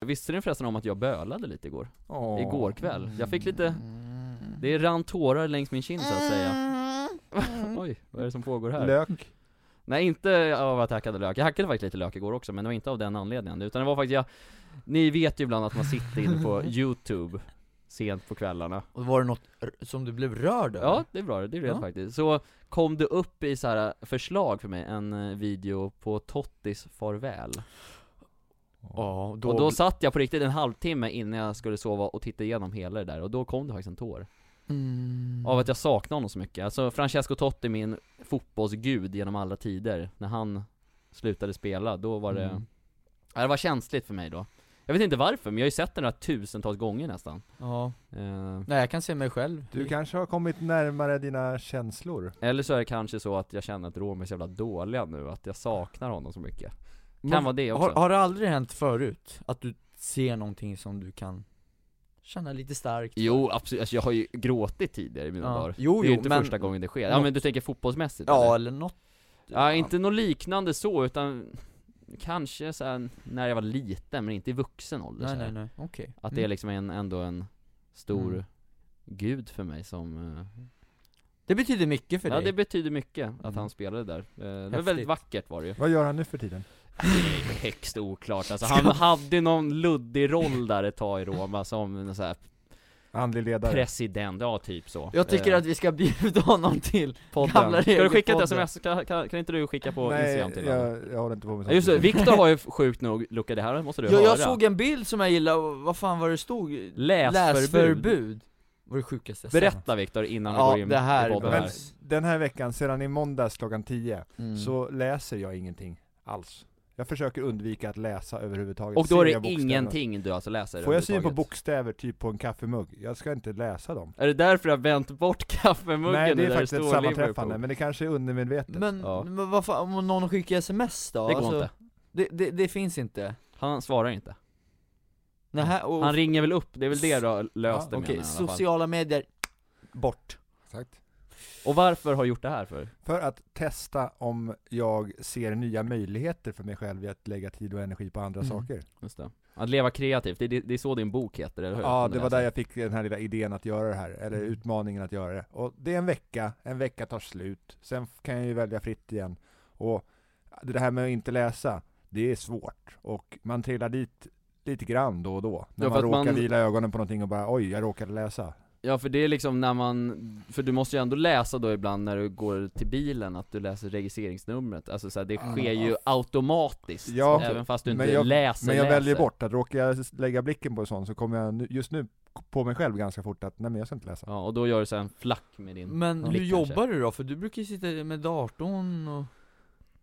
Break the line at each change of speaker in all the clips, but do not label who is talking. Visste ni förresten om att jag bölade lite igår?
Åh.
Igår kväll. Jag fick lite- Det rann tårar längs min kind så att säga Mm. Oj, vad är det som pågår här?
Lök.
Nej inte av att jag hackade lök, jag hackade faktiskt lite lök igår också men det var inte av den anledningen utan det var faktiskt jag Ni vet ju ibland att man sitter inne på youtube Sent på kvällarna
Och var det något r- som du blev rörd över?
Ja det är bra, det är rätt
Ja.
faktiskt Så kom det upp i så här eh, förslag för mig en eh, video på Tottis farväl
Ja, då,
Och då satt jag på riktigt en halvtimme innan jag skulle sova och tittade igenom hela det där och då kom det faktiskt en tår
mm.
Av att jag saknar honom så mycket, alltså Francesco Totti min fotbollsgud genom alla tider När han slutade spela, då var det,
Mm.
ja, det var känsligt för mig då Jag vet inte varför, men jag har ju sett den där tusentals gånger nästan
Ja,
eh,
nej jag kan se mig själv
Du kanske har kommit närmare dina känslor.
Eller så är det kanske så att jag känner att Rom är så jävla dåliga nu, att jag saknar honom så mycket Kan
Men-
vara det också
har, har det aldrig hänt förut? Att du ser någonting som du kan känna lite starkt för?
Jo absolut, alltså, jag har ju gråtit tidigare i mina
Ja.
dagar
Jo,
Det är ju
jo,
inte
men-
första gången det sker, ja
Något-
men du tänker fotbollsmässigt eller?
Ja, eller något
Ja, inte något liknande så, utan kanske så här, när jag var liten, men inte i vuxen ålder
Nej
så här.
nej nej, okej
Att det är
Mm.
liksom en, ändå en stor
Mm.
gud för mig som... eh,
Det betyder mycket för
ja,
dig
det betyder mycket att
Mm.
han spelade där. Eh, Det var
Häftigt.
väldigt vackert var det ju.
Vad gör han nu för tiden?
Högst oklart alltså, han hade någon luddig roll där ett tag i Roma som en så här
Andlig ledare.
president, ja typ så.
Jag tycker
Eh,
att vi ska bjuda honom till gamla
podden. Ska du skicka ett
regelpodden.
sms? Kan, kan, kan inte du skicka på
Nej,
Instagram till honom?
jag, jag håller inte på med
Ja, just det,
sånt.
Viktor har ju sjukt nog, Luca det här måste du
jag,
höra
jag såg en bild som jag gillade, och vad fan var det stod?
Läsförbud.
Läsförbud Var det sjukaste jag sett.
Berätta Viktor innan vi
Ja,
går in
det här
i podden
Men
här.
behövs.
den här veckan, sedan i måndags klockan 10,
Mm.
så läser jag ingenting alls. Jag försöker undvika att läsa överhuvudtaget.
Och då är
Ser jag
det
bokstäver?
ingenting du alltså läser
Får jag syn på
överhuvudtaget?
bokstäver, typ på en kaffemugg? Jag ska inte läsa dem.
Är det därför jag har vänt bort kaffemuggen
Nej, det
där
är faktiskt ett
står
sammanträffande,
Liverpool?
men det kanske är undermedvetet.
Men,
Ja.
men vad fan, om någon skickar sms då?
Det
Alltså,
Alltså-
går inte,
Det, det, det finns inte
han svarar inte
Nähä, och,
Mm. Han ringer väl upp, det är väl det du har löst det
Ja,
menar
Okej,
jag i alla fall.
sociala medier, bort
Exakt.
Och varför har jag gjort det här för?
För att testa om jag ser nya möjligheter för mig själv i att lägga tid och energi på andra
Mm.
saker.
Just det. Att leva kreativt, det är, det är så din bok heter, eller hur?
Ja,
Som du
det var
läser.
där jag fick den här lilla idén att göra det här, eller
Mm.
utmaningen att göra det. Och det är en vecka, en vecka tar slut, sen f- kan jag ju välja fritt igen. Och det här med att inte läsa, det är svårt. Och man trillar dit lite grann då och då. När
Ja, för
man
att man-
råkar vila ögonen på någonting och bara oj, jag råkade läsa.
Ja för det är liksom när man, för du måste ju ändå läsa då ibland när du går till bilen att du läser registreringsnumret, alltså så här, det
Ah.
sker ju automatiskt,
Ja,
även fast du
men
inte
jag-
läser
Men jag
läser.
väljer bort att råkar jag s- lägga blicken på en sån så kommer jag nu, just nu på mig själv ganska fort att nej men jag ska inte läsa.
Ja, och då gör du så här en flack med din
Men
Ja.
hur
Blick kanske.
jobbar du då? För du brukar ju sitta med datorn och...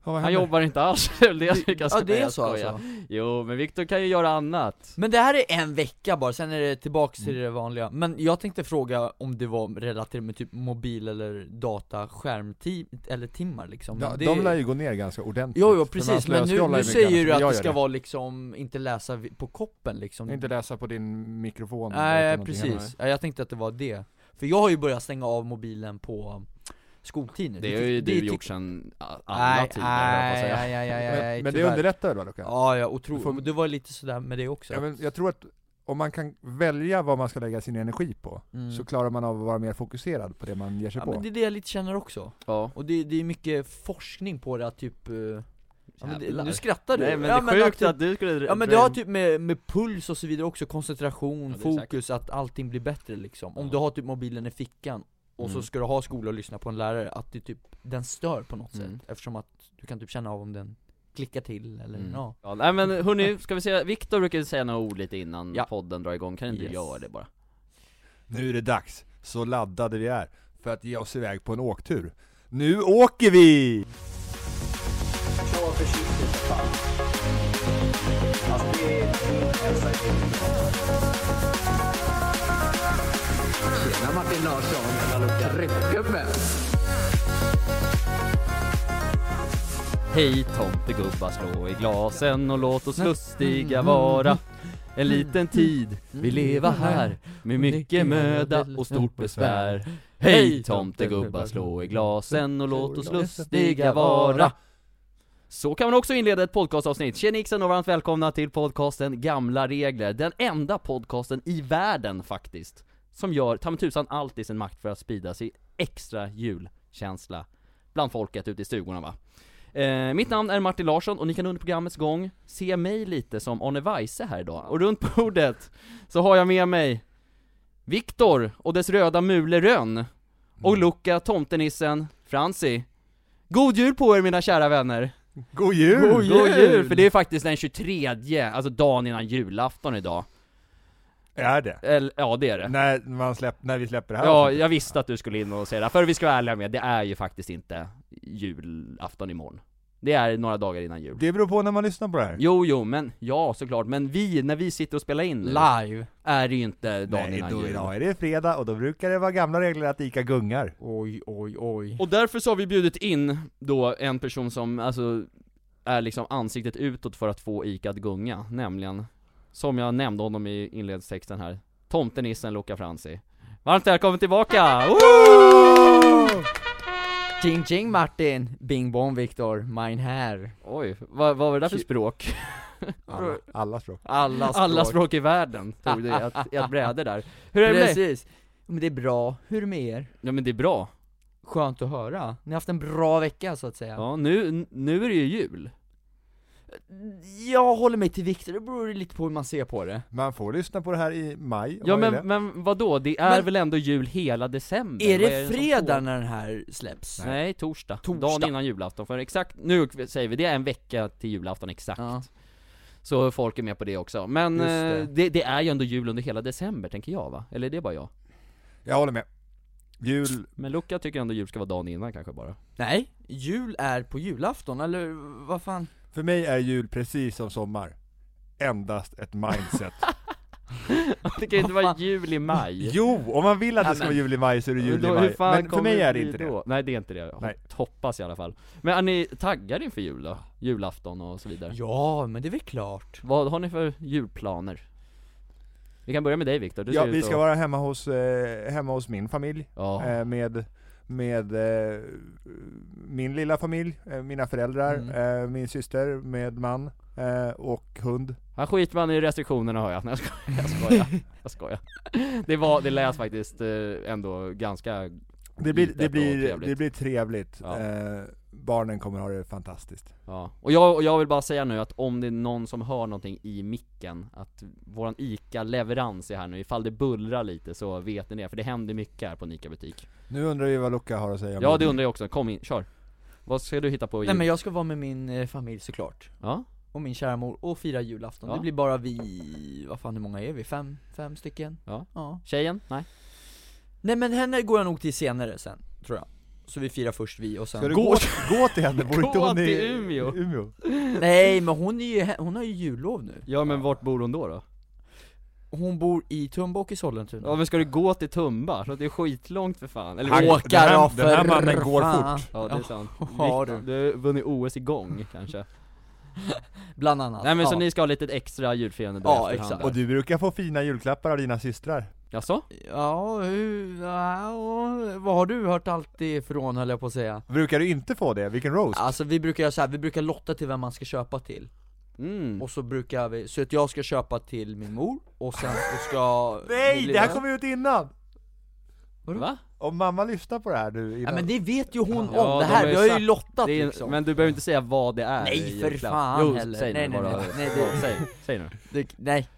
Han jobbar inte alls, det är väl det jag tycker jag
ja
ska
det är
jag
så
skojar.
alltså
Jo, men Viktor kan ju göra annat
Men det här är en vecka bara, sen är det tillbaks
Mm.
till det vanliga Men jag tänkte fråga om det var relaterat med typ mobil eller data, skärmtid eller timmar liksom
Ja,
Men det...
de lär ju gå ner ganska ordentligt.
Jo, jo
För man
precis, men nu,
slöscrollar
nu
ju
säger
mycket
du
annars,
att
men jag
det
gör
ska vara liksom, inte läsa vi- på koppen liksom
Inte läsa på din mikrofon.
Nej
utan någonting annat.
precis, ja, jag tänkte att det var det För jag har ju börjat stänga av mobilen på skoltid nu
Det har ju
är
du
typ-
gjort sen a- alla
Nej,
tider
nej,
nej, nej.
nej, nej, nej, nej,
Men, men det
tyvärr.
underlättar väl Luka?
Ja, ja,
Du
otroligt.
får-
Men Du var lite sådär med det också.
Ja, men jag tror att om man kan välja vad man ska lägga sin energi på,
mm.
så klarar man av att vara mer fokuserad på det man ger sig
ja,
på.
men det är det jag lite känner också.
Ja,
Och det, det är mycket forskning på det, att typ... eh, Ja, men det,
Jävlar.
nu skrattar du.
Nej men
ja,
det är sjukt
typ-
att du skulle
Ja men det har typ med, med puls och så vidare också, koncentration,
Ja, det är
fokus, att allting blir bättre liksom. Om
Ja.
du har typ mobilen i fickan, och
Mm.
så ska du ha skola och lyssna på en lärare, att det typ, den stör på något
Mm.
sätt. Eftersom att du kan typ känna av om den klickar till eller
Mm.
ja.
Ja, nej men hörni, ska vi säga, Viktor brukade säga några ord lite innan
Ja.
podden drar igång, kan inte
Yes.
du göra det bara?
Nu är det dags, så laddade vi är, för att ge oss iväg på en åktur. Nu åker vi!
Mm.
Tjena Martin Larsson! Tryckgubbe!
Hej tomtegubbar, slå i glasen och låt oss lustiga vara En liten tid, vi leva här Med mycket möda och stort besvär Hej tomtegubbar, slå i glasen och låt oss lustiga vara Så kan man också inleda ett podcastavsnitt. Tjena Nixon och varmt välkomna till podcasten Gamla Regler. Den enda podcasten i världen faktiskt, som gör ta mig tusan allt i sin makt för att sprida sin extra julkänsla bland folket ute i stugorna va. Eh, mitt namn är Martin Larsson och ni kan under programmets gång se mig lite som Arne Weise här idag. Och runt bordet så har jag med mig Viktor och dess röda mule Rönn och Luca, tomtenissen, Franzi. God jul på er mina kära vänner!
God jul!
God
God jul! För det är faktiskt den 23, alltså dagen innan julafton idag.
Är det?
Eller, ja det är det.
När, man släpp, när vi släpper det här
Ja,
avsnittet.
jag visste att du skulle in och säga det, för vi ska vara ärliga med, det är ju faktiskt inte julafton imorgon. Det är några dagar innan jul.
Det beror på när man lyssnar på det här.
Jo, jo, men ja såklart, men vi, när vi sitter och spelar in nu,
Live!
är det ju inte dagen
Nej,
innan
då,
jul.
idag är det fredag och då brukar det vara gamla regler att Ica gungar.
Oj, oj, oj.
Och därför så har vi bjudit in då en person som alltså är liksom ansiktet utåt för att få Ica att gunga, nämligen Som jag nämnde honom i inledningstexten här Tomtenissen Luca Franzi Varmt välkommen tillbaka! Woo!
Ching ching Martin! Bing bong Viktor, mine hair.
Oj, vad, vad var det där för
Ki-
språk?
Alla, alla språk.
Alla språk.
Alla språk i världen tog det i ett, i ett bräde där Hur är det med dig?
Precis. Men det är bra. Hur är det med er?
Ja men det är bra,
Skönt att höra. Ni har haft en bra vecka så att säga.
ja nu, nu är det ju jul
Jag håller mig till Viktor, det beror lite på hur man ser på det.
Man får lyssna på det här i maj.
Ja
Vad är
men,
det?
men vadå, det är
Men-
väl ändå jul hela december?
Är
Vad
det
som
fredag
pågår?
när den här släpps?
Nej, torsdag.
Torsdag.
Dagen innan julafton, för exakt, nu säger vi det är en vecka till julafton exakt.
Ja.
Så folk är med på det också. Men
Just
det.
det.
Det, det är ju ändå jul under hela december, tänker jag va? Eller är det bara jag?
Jag håller med. Jul,
Men Luca tycker ändå jul ska vara dagen innan kanske bara.
Nej, jul är på julafton, eller vad fan?
för mig är jul precis som sommar. Endast ett mindset.
det kan ju inte
Vad
vara
fan?
jul i maj.
jo, om man vill att det ska
Ja, men-
vara jul i maj så är det jul
Då-
i
hur
maj.
fan
Men för
kommer
mig är det
vi
inte det.
då? Nej det är inte det, jag
Nej.
hoppas i alla fall. Men är ni taggade inför jul då? Julafton och så vidare?
Ja, men det är väl klart.
Vad har ni för julplaner? Vi kan börja med dig Viktor, du
Ja,
ser ut
vi ska
att-
vara hemma hos, eh, hemma hos min familj.
Ja.
eh, med, med eh, min lilla familj, eh, mina föräldrar,
Mm.
eh, min syster med man eh, och hund.
Här skiter man i restriktionerna hör jag, Nej, jag skojar, jag skojar, jag skojar. Det var, det lät faktiskt eh, ändå ganska,
Det blir,
Litet
det
och
blir,
trevligt.
det blir trevligt.
Ja.
Eh, barnen kommer ha det fantastiskt.
ja. Och jag, och jag vill bara säga nu att om det är någon som hör någonting i micken, att våran ICA-leverans är här nu, ifall det bullrar lite så vet ni det, för det händer mycket här på en ICA-butik.
Nu undrar vi vad Luca har att säga om
Ja
jul.
det undrar jag också, kom in, kör. Vad ska du hitta på i
Nej
jul?
men jag ska vara med min eh, familj såklart,
Ja?
och min kära mor, och fira julafton.
Ja.
Det blir bara vi, vad fan hur många är vi? Fem, fem stycken?
Ja. Tjejen? Nej?
Nej men henne går jag nog till senare sen, tror jag. Så vi firar först vi och sen
Ska du
Gå-
gå, gå till henne? Bor inte
Gå
hon
till
i
Umeå.
Umeå?
Nej men hon är ju, he- hon har ju jullov nu
Ja men vart bor hon då då?
Hon bor i Tumba och i Sollentuna
Ja men ska du gå till Tumba? Det är skitlångt för fan, eller
Han-
åk!
den här-
då,
den här
för
mannen går
fan.
Ja det är sant.
Ja,
Viktor,
du.
Du har vunnit OS i gång kanske?
Bland annat
Nej men så
Ja.
ni ska ha lite extra julfirande då
Ja,
efterhand
exakt.
där.
Och du brukar få fina julklappar av dina systrar.
Jaså?
Ja, hur, ja, och- vad har du hört allt ifrån höll jag på att säga?
Brukar du inte få det? Vilken roast!
Alltså vi brukar göra så här, vi brukar lotta till vem man ska köpa till
Mm.
Och så brukar vi, så att jag ska köpa till min mor, och sen så ska
Nej!
min
Det här
lilla-
kom ut innan!
Va?
Om mamma lyssnar på det här nu
Ja
innan.
men det vet ju hon
Ja, de
om, det här,
har ju
vi har ju
sagt-
lottat
Det är,
liksom
Men du behöver inte säga vad det är
Nej,
i
för
julklapp.
fan
jo,
heller.
säg nu
Nej, nej,
bara.
nej, nej, det-
säg, säg nu.
Det- Nej,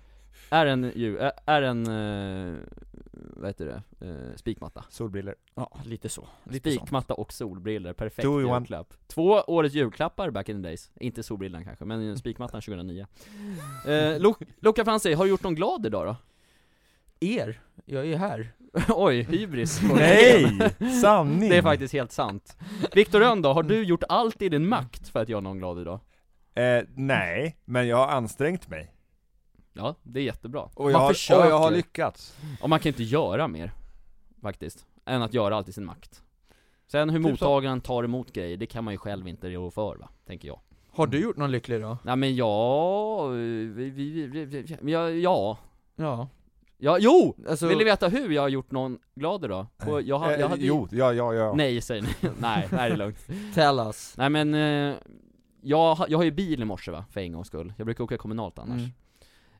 Är en, ju- är- är en, eh, vad heter det, eh, spikmatta?
Solbriller.
ja lite så, lite så.
Spikmatta och solbriller, perfekt
Two in one.
julklapp. Två årets julklappar back in the days. Inte solbrillan kanske, men spikmattan 2009. Eh, Lu- Luca Franzi, har du gjort någon glad idag då?
Er, jag är här
Oj, hybris.
Nej! Sanning!
Det är faktiskt helt sant. Viktor Rönn då, har du gjort allt i din makt för att göra någon glad idag?
Eh, nej, men jag har ansträngt mig.
Ja, det är jättebra.
Och
Man
jag, har,
försöker.
och jag har lyckats.
Och man kan inte göra mer, faktiskt, än att göra allt i sin makt. Sen hur
Typ så.
mottagaren tar emot grejer, det kan man ju själv inte rå för va, tänker jag.
Har du gjort någon lycklig då?
Nej men ja, vi, vi, vi, vi, ja, ja,
Ja,
ja, jo!
alltså
Vill ni veta hur jag har gjort någon glad idag? På, jag, ha- jag
Eh,
hade
Jo, ja, ja, ja.
Nej säger ni, nej, nej det är lugnt.
tell us
Nej men, eh, jag, har- jag har ju bil i morse va, för en gångs skull. Jag brukar åka kommunalt annars.
Mm.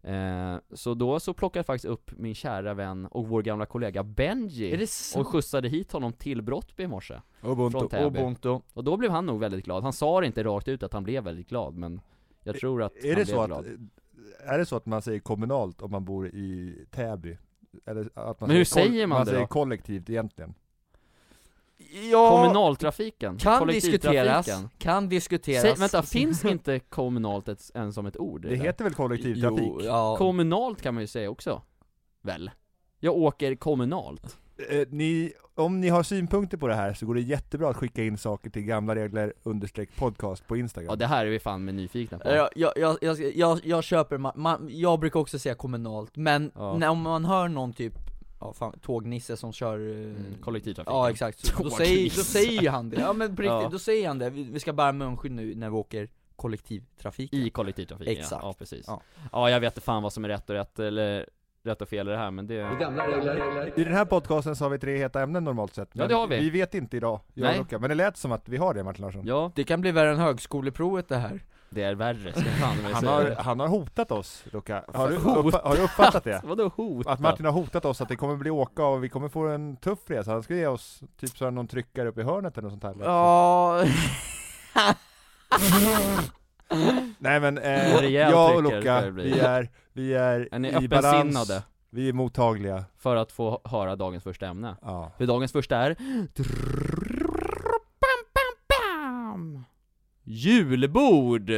Eh, så då så plockade jag faktiskt upp min kära vän och vår gamla kollega Benji
Är det
och
sant?
skjutsade hit honom till Brottby i morse. Från
Ubuntu.
Täby.
Ubuntu.
Och då blev han nog väldigt glad. Han sa det inte rakt ut att han blev väldigt glad, men jag tror att
Är
han
det,
blev
så att,
glad.
är det så att man säger kommunalt om man bor i Täby? Eller att man
Men hur
koll-
säger man det
säger
då?
kollektivt egentligen.
Ja,
Kommunaltrafiken,
kan
kollektivtrafiken.
diskuteras, kan diskuteras
Säg, vänta, finns inte kommunalt ett, ens som ett ord?
Det
eller?
heter väl kollektivtrafik?
Jo, ja.
Kommunalt kan man ju säga också. Väl? Jag åker kommunalt.
Eh, ni, om ni har synpunkter på det här så går det jättebra att skicka in saker till gamla regler understreck podcast på Instagram.
Ja det här är vi fan med nyfikna på.
Jag, jag, jag, jag, jag, jag köper, man, man, jag brukar också säga kommunalt, men
Ja.
när, om man hör någon typ, ja, fan, tågnisse som kör eh,
Mm, kollektivtrafiken.
Ja exakt, då säger, då
Tågnisse.
säger ju han det, ja men på riktigt,
Ja.
då säger han det, vi, vi ska bära munskydd nu när vi åker kollektivtrafik
I kollektivtrafiken
Exakt.
ja. ja precis. Ja.
Ja.
jag vet inte fan vad som är rätt och rätt eller rätt och fel i det här men det...
Gamla regler.
I den här podcasten så har vi tre heta ämnen normalt sett.
Ja, det har vi.
Vi vet inte idag, jag
Nej.
och Luca. Men det lät som att vi har det Martin Larsson.
Ja,
Det kan bli värre än högskoleprovet det här
det är värre ska jag fan
Han,
säga.
har, han har hotat oss Luca. Har, du
Hotat?
uppfa- har du uppfattat det?
Vadå hot?
Att Martin har hotat oss att det kommer bli åka och vi kommer få en tuff resa. Han ska ge oss typ så här någon tryckare upp i hörnet eller något sånt här. liksom.
Ja,
Nej men, eh,
Rejäl
jag och
tryckare ska
Luca,
det bli.
vi är, vi är,
Är ni
i balans.
öppensinnade
Vi är mottagliga.
för att få höra dagens första ämne?
Ja.
För dagens första är... Bam, bam, bam. Julbord!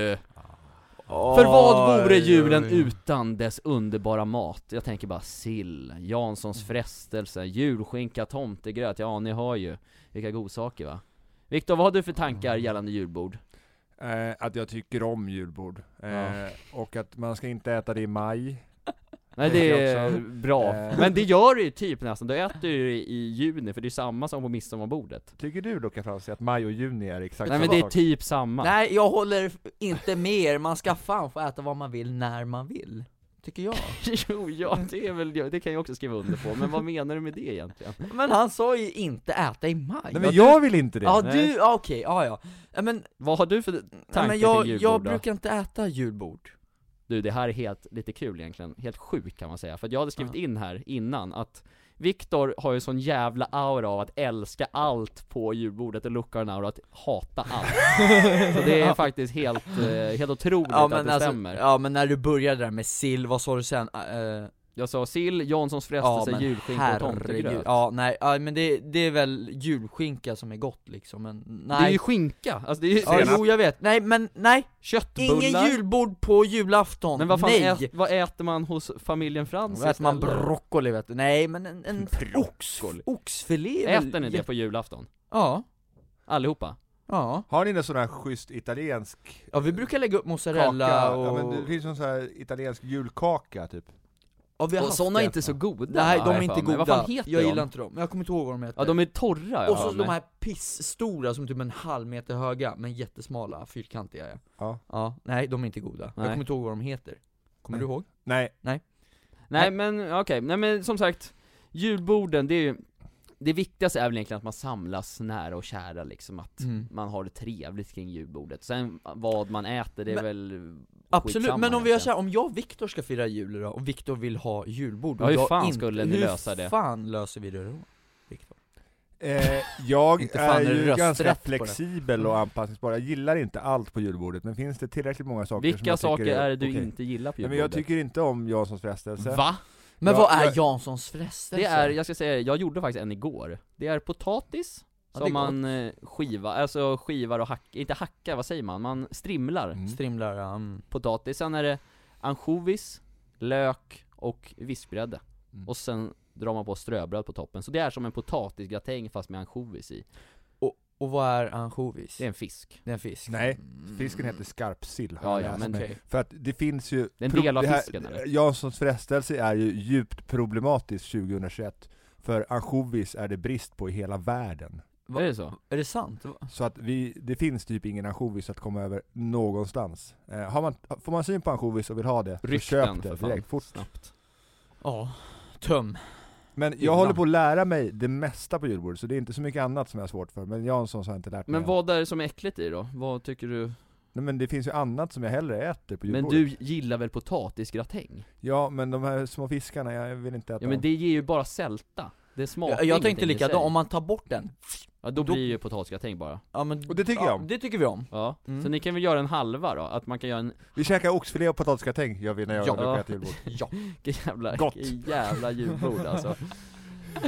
För vad vore julen utan dess underbara mat? Jag tänker bara sill, Janssons frestelse, julskinka, tomtegröt, ja ni hör ju Vilka godsaker va? Viktor, vad har du för tankar
Mm.
gällande julbord?
Eh, att jag tycker om julbord. Eh,
Ja.
Och att man ska inte äta det i maj.
Nej
Det
det
är
är
också-
bra,
Eh.
men det gör du ju typ nästan, du äter ju i- i juni för det är samma som på midsommarbordet
Tycker du Luca Franzi att maj och juni är exakt
Nej men
samma
det är
sak?
typ samma
Nej jag håller inte med er, man ska fan få äta vad man vill när man vill Tycker jag
Jo, ja det är väl, det kan jag också skriva under på, men vad menar du med det egentligen?
Men han sa ju inte äta i maj
Nej men jag vill inte det!
Ja
Nej.
du, ja, okej, ja ja ja men,
Vad har du för tankar
ja, men
kring
jag,
julbord
jag
då?
brukar inte äta julbord
Du det här är helt, lite kul egentligen, helt sjukt kan man säga, för att jag hade skrivit in här innan att Viktor har ju sån jävla aura av att älska allt på julbordet och Luca har en aura att hata allt Så det är faktiskt helt, eh, helt otroligt
Ja
att
men
det
alltså,
stämmer
ja men när du började där med sill, vad sa du sen? Uh,
Jag sa sill, Janssons frestelse, julskinka och tomtegröt
Ja nej, ja, men det, det är väl julskinka som är gott liksom, men nej
Det är ju skinka, alltså det är ju
Ja,
Senap.
jo jag vet, nej men nej,
köttbullar
ingen julbord på julafton,
Men vad fan,
nej!
ät, vad äter man hos familjen Frans
Då äter man
istället?
broccoli vet du, nej men en, en ox,
Broccoli.
oxfilé är väl
Äter ni det
jätte-
på julafton?
Ja,
Allihopa?
ja,
Har ni någon sån här schysst italiensk
ja vi brukar lägga upp mozzarella
kaka?
och...
Ja, men det finns någon sån här italiensk julkaka typ.
Ja, vi har haft
såna
det.
är inte så goda
Nej de
har jag
är
för
inte
mig.
goda,
Vad fan heter
jag
de?
gillar inte dem, jag kommer inte ihåg vad de heter
Ja de är torra jag
Och så
har
de
mig.
här pissstora som typ en halv meter höga, men jättesmala, fyrkantiga ja.
Ja.
ja nej de är inte goda,
Nej.
jag kommer inte ihåg vad de heter Kommer
Nej.
du ihåg?
Nej,
Nej men okej, nej men som sagt Julborden, det är ju Det viktigaste är väl egentligen att man samlas nära och kära liksom att
Mm.
Man har det trevligt kring julbordet, sen vad man äter det är
Men-
väl
Absolut,
skitsamma
men om vi gör
egentligen.
såhär, om jag och Viktor ska fira jul idag och Viktor vill ha julbord
Ja,
och
hur
jag
fan
inte,
skulle ni lösa det?
Hur fan löser vi det då? Viktor?
eh, jag
Inte fan
är
är det
ju
rösträtt
ganska
på det.
flexibel
Mm.
och anpassningsbar. Jag gillar inte allt på julbordet, men finns det tillräckligt många saker som
Vilka
jag
saker
tycker
är det du
okej?
inte gillar på
Nej, men
julbordet?
jag tycker inte om Janssons frestelse.
Va?
Men
Ja,
vad är
jag-
Janssons frestelse?
Det är, jag ska säga jag gjorde faktiskt en igår Det är potatis
Ja, det är
som man eh, skivar, alltså skivar och hackar, inte hackar, vad säger man? Man strimlar
Mm.
Strimlar, ja, mm.
potatis, sen är det ansjovis, lök och vispgrädde.
Mm.
Och sen drar man på ströbröd på toppen. Så det är som en potatisgratäng fast med ansjovis i.
Och vad är ansjovis?
Det är en fisk.
Det är en fisk?
Nej,
Mm.
Fisken heter skarpsill har
Ja,
jag
ja,
läst
men
mig.
okej.
För att det finns ju...
Det är en
pro-
del av
det här-
fisken, eller?
Janssons frestelse är ju djupt problematisk 2021. För ansjovis är det brist på i hela världen.
Mm. Va?
Är det så?
Är det sant? Va?
Så att vi, det finns typ ingen ansjovis att komma över någonstans. Eh, har man, får man syn på ansjovis och vill ha det, så
Ryck den
köp
för
det
fan.
direkt, fort.
Snabbt.
Ja, töm
Men jag
Innan.
håller på att lära mig det mesta på julbordet, så det är inte så mycket annat som jag har svårt för. Men Janssons har jag inte lärt mig
Men
än.
vad är det som är äckligt i då? Vad tycker du?
Nej men det finns ju annat som jag hellre äter på
Men
julbordet.
du gillar väl potatisgratäng?
Ja men de här små fiskarna, jag vill inte äta
Ja men
dem.
det ger ju bara sälta. Det smakar
Jag, jag tänkte
ingenting i sig.
likadant, om man tar bort den
Ja då
då-
blir ju potatisgratäng bara.
ja, men,
Och det tycker
ja,
jag om.
Det tycker vi om
Ja.
Mm.
Så ni kan väl göra en halva då? Att man kan göra en
Vi käkar oxfilé och potatisgratäng, gör vi när jag
Ja.
brukar äta julbord.
Ja,
Vilket jävla,
Gott.
vilket jävla julbord alltså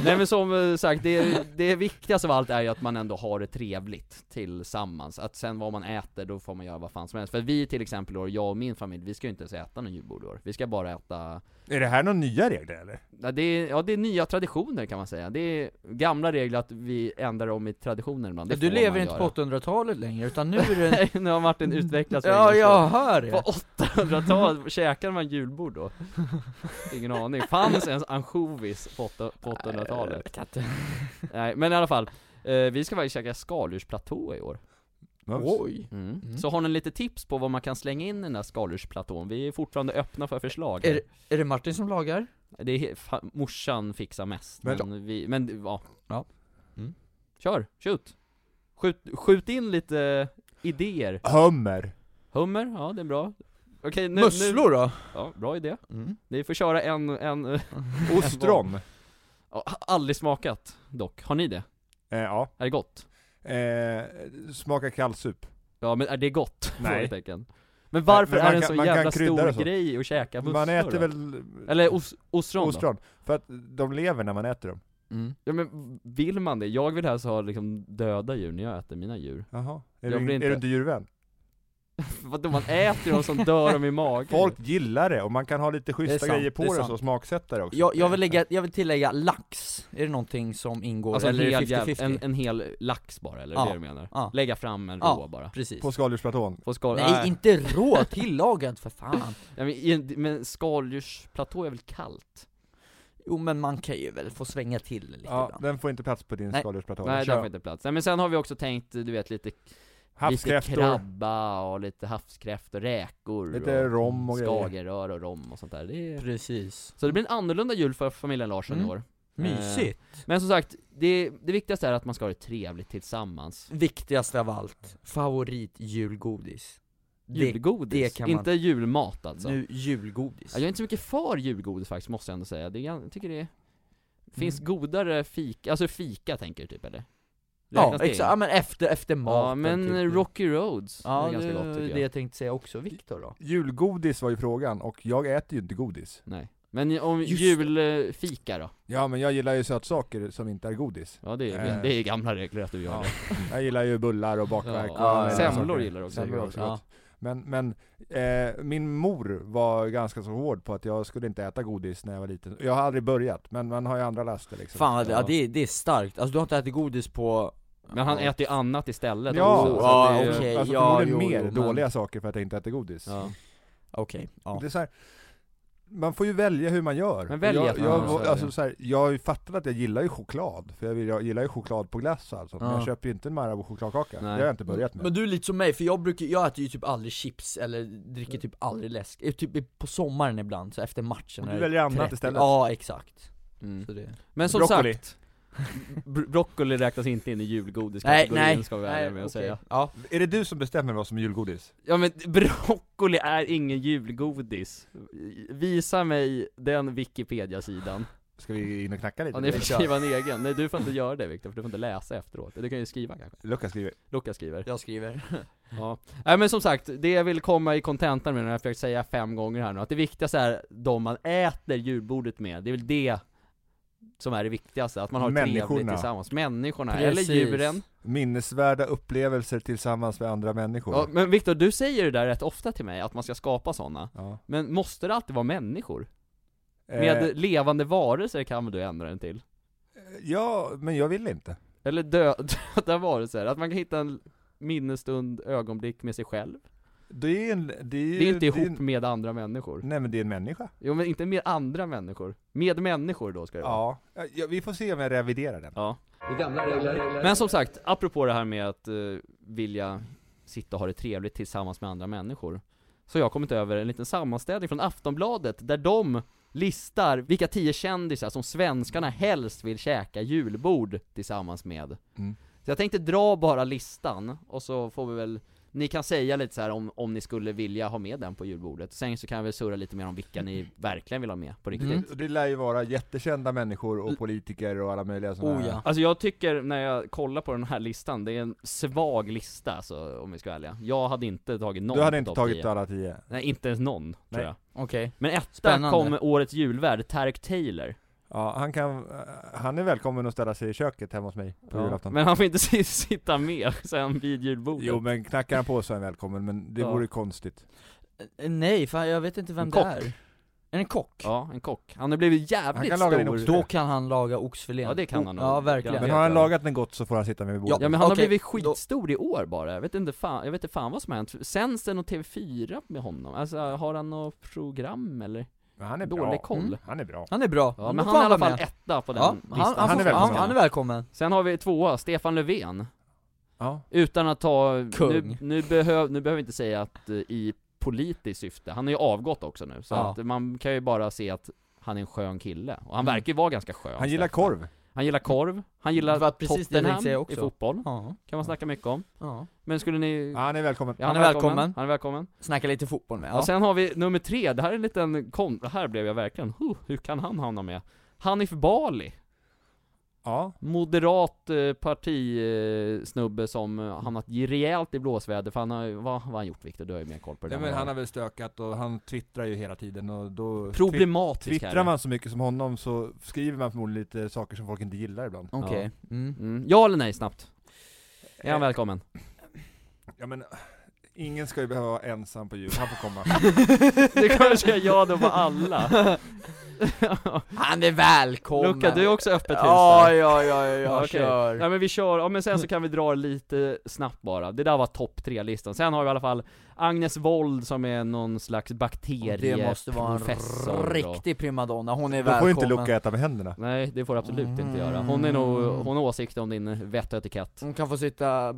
Nej men som eh, sagt, det, det viktigaste av allt är ju att man ändå har det trevligt tillsammans Att sen vad man äter, då får man göra vad fan som helst För vi till exempel, då, jag och min familj, vi ska ju inte ens äta någon julbord i år Vi ska bara äta
Är det här några nya regler eller?
ja, det, är, ja det är nya traditioner kan man säga Det är gamla regler att vi ändrar om i traditioner ibland det
Du
får
lever
man
inte
göra.
på 800-talet längre utan nu är det
Nej, nu har Martin utvecklats
Ja,
länge, så-
jag hör det!
På 800-talet käkade man julbord då? Ingen aning, fanns ens ansjovis på åtta- på 800-talet?
Jag kan inte.
Nej men i alla fall, eh, vi ska faktiskt käka skaldjursplatå i år
Mums.
Oj! Mm.
Så har ni lite tips på vad man kan slänga in i den här skaldjursplatån? Vi är fortfarande öppna för förslag
Är, är det Martin som lagar?
Det är he- fa- morsan fixar mest, men,
Men-
vi, men ja,
Ja. Mm.
Kör, skjut! skjut! Skjut in lite idéer
Hummer!
Hummer, ja det är bra Okej, nu,
Musslor då?
Nu, ja, bra idé
Mm.
Ni får köra en, en, eh,
Ostron!
ja, aldrig smakat dock, har ni det?
eh, ja.
Är det gott?
Eh, smaka kallsup.
Ja men är det gott?
Nej.
Frågetecken. Men varför
Men man
är det en
kan-
så
man kan
jävla
krydda
stor
det så.
grej att käka musslor
Man äter
då?
väl
Eller os ostron, då?
ostron? För att de lever när man äter dem.
Mm.
Ja men vill man det? Jag vill helst ha liksom döda djur när jag äter mina djur
Jaha. Är,
Jag
du,
blir
inte...
inte-
är du inte djurvän?
Vadå man äter ju dem som dör dem i magen
Folk gillar det och man kan ha lite schyssta
sant,
grejer på
det är
det,
sant.
så, smaksätta det också.
Jag, jag, vill lägga, jag vill tillägga lax, är det någonting som ingår?
Alltså en
eller är
hel,
det
jäv,
50-50?
en, en hel lax bara, eller
Ja.
det du menar?
Ja.
Lägga fram en rå
Ja.
bara
Precis
På skaldjursplatån.
På skal Äh,
Nej, inte rå, tillagad för fan
Ja, men, i- men skaldjursplatå är väl kallt?
Jo men man kan ju väl få svänga till lite
Ja,
ibland
den får inte plats på din
Nej.
skaldjursplatå.
Nej
Kör.
där får inte plats. Nej men sen har vi också tänkt, du vet lite, lite
Havskräftor,
krabba och lite havskräftor, räkor
lite
och
rom och grejer.
skagerrör och rom och sånt där. Det är...
Precis
Så det blir en annorlunda jul för familjen Larsson
Mm.
i år.
Mysigt!
Men som sagt, det, det viktigaste är att man ska ha det trevligt tillsammans.
Viktigast av allt, favoritjulgodis det,
Julgodis,
det kan man-
inte julmat alltså.
Nu julgodis
Ja, Jag är inte så mycket för julgodis faktiskt, måste jag ändå säga. Det, är gan- jag tycker det är... finns
Mm.
godare fika, alltså fika tänker du typ eller?
Ja,
Räknas det in?
exakt, ja men efter, efter maten
Ja men
typ.
Rocky Roads,
Ja,
det är ganska gott tycker jag.
det jag tänkte säga också, Viktor då?
Julgodis var ju frågan, och jag äter ju inte godis.
Nej. Men om
Just det.
julfika då?
Ja men jag gillar ju sötsaker som inte är godis.
Ja det är,
Eh.
det är gamla regler att du gör
Ja.
det.
Jag gillar ju bullar och bakverk
Ja,
och alla
ja,
sådana
semlor
saker.
gillar du också.
Semlor är också
Ja.
gott. Men, men eh, min mor var ganska så hård på att jag skulle inte äta godis när jag var liten. Jag har aldrig börjat, men man har ju andra laster liksom.
Fan vad det,
Ja.
ja. det, är- det är starkt, alltså du har inte ätit godis på
Men han äter ju annat istället
Ja,
också. så
ja,
att det är-
okej.
alltså
ja,
förmodligen
jo,
mer
jo, men-
dåliga saker för att jag inte äter godis.
Ja.
Okej, ja
Det är så här, man får ju välja hur man gör.
Men välj
jag,
ett.
jag,
Ja, så är det.
alltså, så här, jag har ju fattat att jag gillar ju choklad, för jag, vill, jag gillar ju choklad på glass alltså. Men
Ja.
jag köper ju inte en Marabou chokladkaka,
Nej.
det har jag inte börjat med.
Men du är lite som mig, för jag brukar, jag äter ju typ aldrig chips eller dricker typ aldrig läsk, Eh, typ på sommaren ibland, så efter matchen
Och
när
du
det
väljer
är
annat
30.
istället.
Ja exakt,
Mm.
så det...
Men som
Broccoli.
sagt, bro- broccoli räknas inte in i
Nej,
julgodiskategorin
nej,
ska vi vara ärliga med att
okej.
säga.
Ja,
Är det du som bestämmer vad som är julgodis?
Ja men broccoli är ingen julgodis. Visa mig den Wikipedia-sidan.
Ska vi in och knacka lite?
Ja, ni får
Eller?
skriva en egen. Nej du får inte göra det Viktor, för du får inte läsa efteråt. Du kan ju skriva kanske.
Lukas skriver.
Lukas skriver.
jag skriver
Ja. Nej men som sagt, det jag vill komma i kontentan med, när jag har försökt säga fem gånger här nu, att det viktigaste är de man äter julbordet med. Det är väl det som är det viktigaste, att man har trevligt
Människorna.
tillsammans. Människorna,
Precis.
eller djuren.
Minnesvärda upplevelser tillsammans med andra människor.
Ja, men Viktor, du säger det där rätt ofta till mig, att man ska skapa sådana.
Ja.
Men måste det alltid vara människor? Med
Eh,
levande varelser kan väl du ändra den till?
ja, men jag vill inte.
Eller dö- döda varelser, att man kan hitta en minnesstund, ögonblick med sig själv.
Det är, en, det är ju...
Det är inte
det är
ihop
en,
med andra människor.
Nej men det är en människa.
Jo men inte med andra människor. Med människor då ska det vara.
Ja. ja. Vi får se om jag reviderar den.
Ja.
Det är gamla regler.
Men som sagt, apropå det här med att uh, vilja sitta och ha det trevligt tillsammans med andra människor. Så jag har kommit över en liten sammanställning från Aftonbladet där de listar vilka tio kändisar som svenskarna helst vill käka julbord tillsammans med.
Mm.
Så jag tänkte dra bara listan, och så får vi väl Ni kan säga lite så här om, om ni skulle vilja ha med den på julbordet, sen så kan vi surra lite mer om vilka ni verkligen vill ha med på riktigt
Mm.
Och det lär ju vara jättekända människor och politiker och alla möjliga sådana
Oh
här.
ja.
Alltså jag tycker, när jag kollar på den här listan, det är en svag lista alltså, om vi ska vara ärliga Jag hade inte tagit någon
Du hade
på
inte
topp
tagit
10.
alla tio?
Nej, inte ens någon, tror
Nej.
jag
Okej.
Men etta
Spännande.
kom årets julvärd, Tarek Taylor
Ja, han kan, eh, han är välkommen att ställa sig i köket hemma hos mig på julafton
Men han får inte si- sitta med sen vid julbordet
Jo men knackar han på så är han välkommen, men det
Ja.
vore konstigt
Eh, Nej, fan jag vet inte vem
En
det
kock.
är. Är det en kock?
Ja, en kock. Han har blivit jävligt
Han kan
stor
laga din oxfilé.
Då kan han laga oxfilén.
Ja, det kan han nog.
Ja,
Ja,
verkligen.
Men
vet
har han
jag.
lagat den gott så får han sitta med vid bordet
Ja men han
Okej,
har blivit
då-
skitstor i år bara, jag vet inte fan, jag vet inte fan vad som har hänt. Sensen och TV4 med honom, alltså har han något program eller?
men han är bra,
Dålig koll.
Mm.
han är bra
Han är bra.
Ja men
får
han är i alla
vara
fall
med.
etta på den
ja,
listan.
han, han,
Han är
får-
välkommen.
han, han är välkommen.
Sen har vi tvåa, Stefan Löfven.
Ja,
Utan att ta, nu,
Kung.
nu, behöv, nu behöver vi inte säga att eh, i politiskt syfte, han är ju avgått också nu, så
Ja.
att man kan ju bara se att han är en skön kille, och han
Mm.
verkar ju vara ganska skön
han gillar
Stefan.
korv
Han gillar korv, han gillar
Det var precis det jag tänkte säga
Tottenham i
också.
fotboll,
Ja.
kan man snacka mycket om
ja.
Men skulle ni...
ja, han är välkommen
Ja,
Han är välkommen.
Han är välkommen.
Snacka lite fotboll med.
Och
Ja.
sen har vi nummer tre, det här är en liten kon... det Här blev jag verkligen, huh, hur kan han hamna med? Hanif Bali,
Ja,
moderat eh, partisnubbe som eh, hamnat i- rejält i blåsväder för han har ju- vad, vad har han gjort Viktor? Du har ju mer koll på det
Nej,
där
men
än
han har
jag.
väl stökat och han twittrar ju hela tiden och då
Problematisk
Twittrar
här.
man så mycket som honom så skriver man förmodligen lite saker som folk inte gillar ibland
Okej. Mm.
Mm. Ja eller nej snabbt? Är han
Eh,
välkommen?
Ja men, ingen ska ju behöva vara ensam på jul, han får komma
Du kommer säga ja då på alla.
Han är välkommen.
Luca, du är också öppet hus där.
Ja, ja, ja, ja, jag
Okej.
kör.
Ja men vi kör, ja, men sen så kan vi dra lite snabbt bara, det där var topp tre listan Sen har vi i alla fall Agnes Wold som är någon slags bakterie
Det måste vara en
professor och-
riktig primadonna, hon är
Då får ju inte
välkommen.
Luca äta med händerna
Nej det får du absolut inte göra, hon är nog,
Mm.
hon har åsikter om din vett och etikett
Hon kan få sitta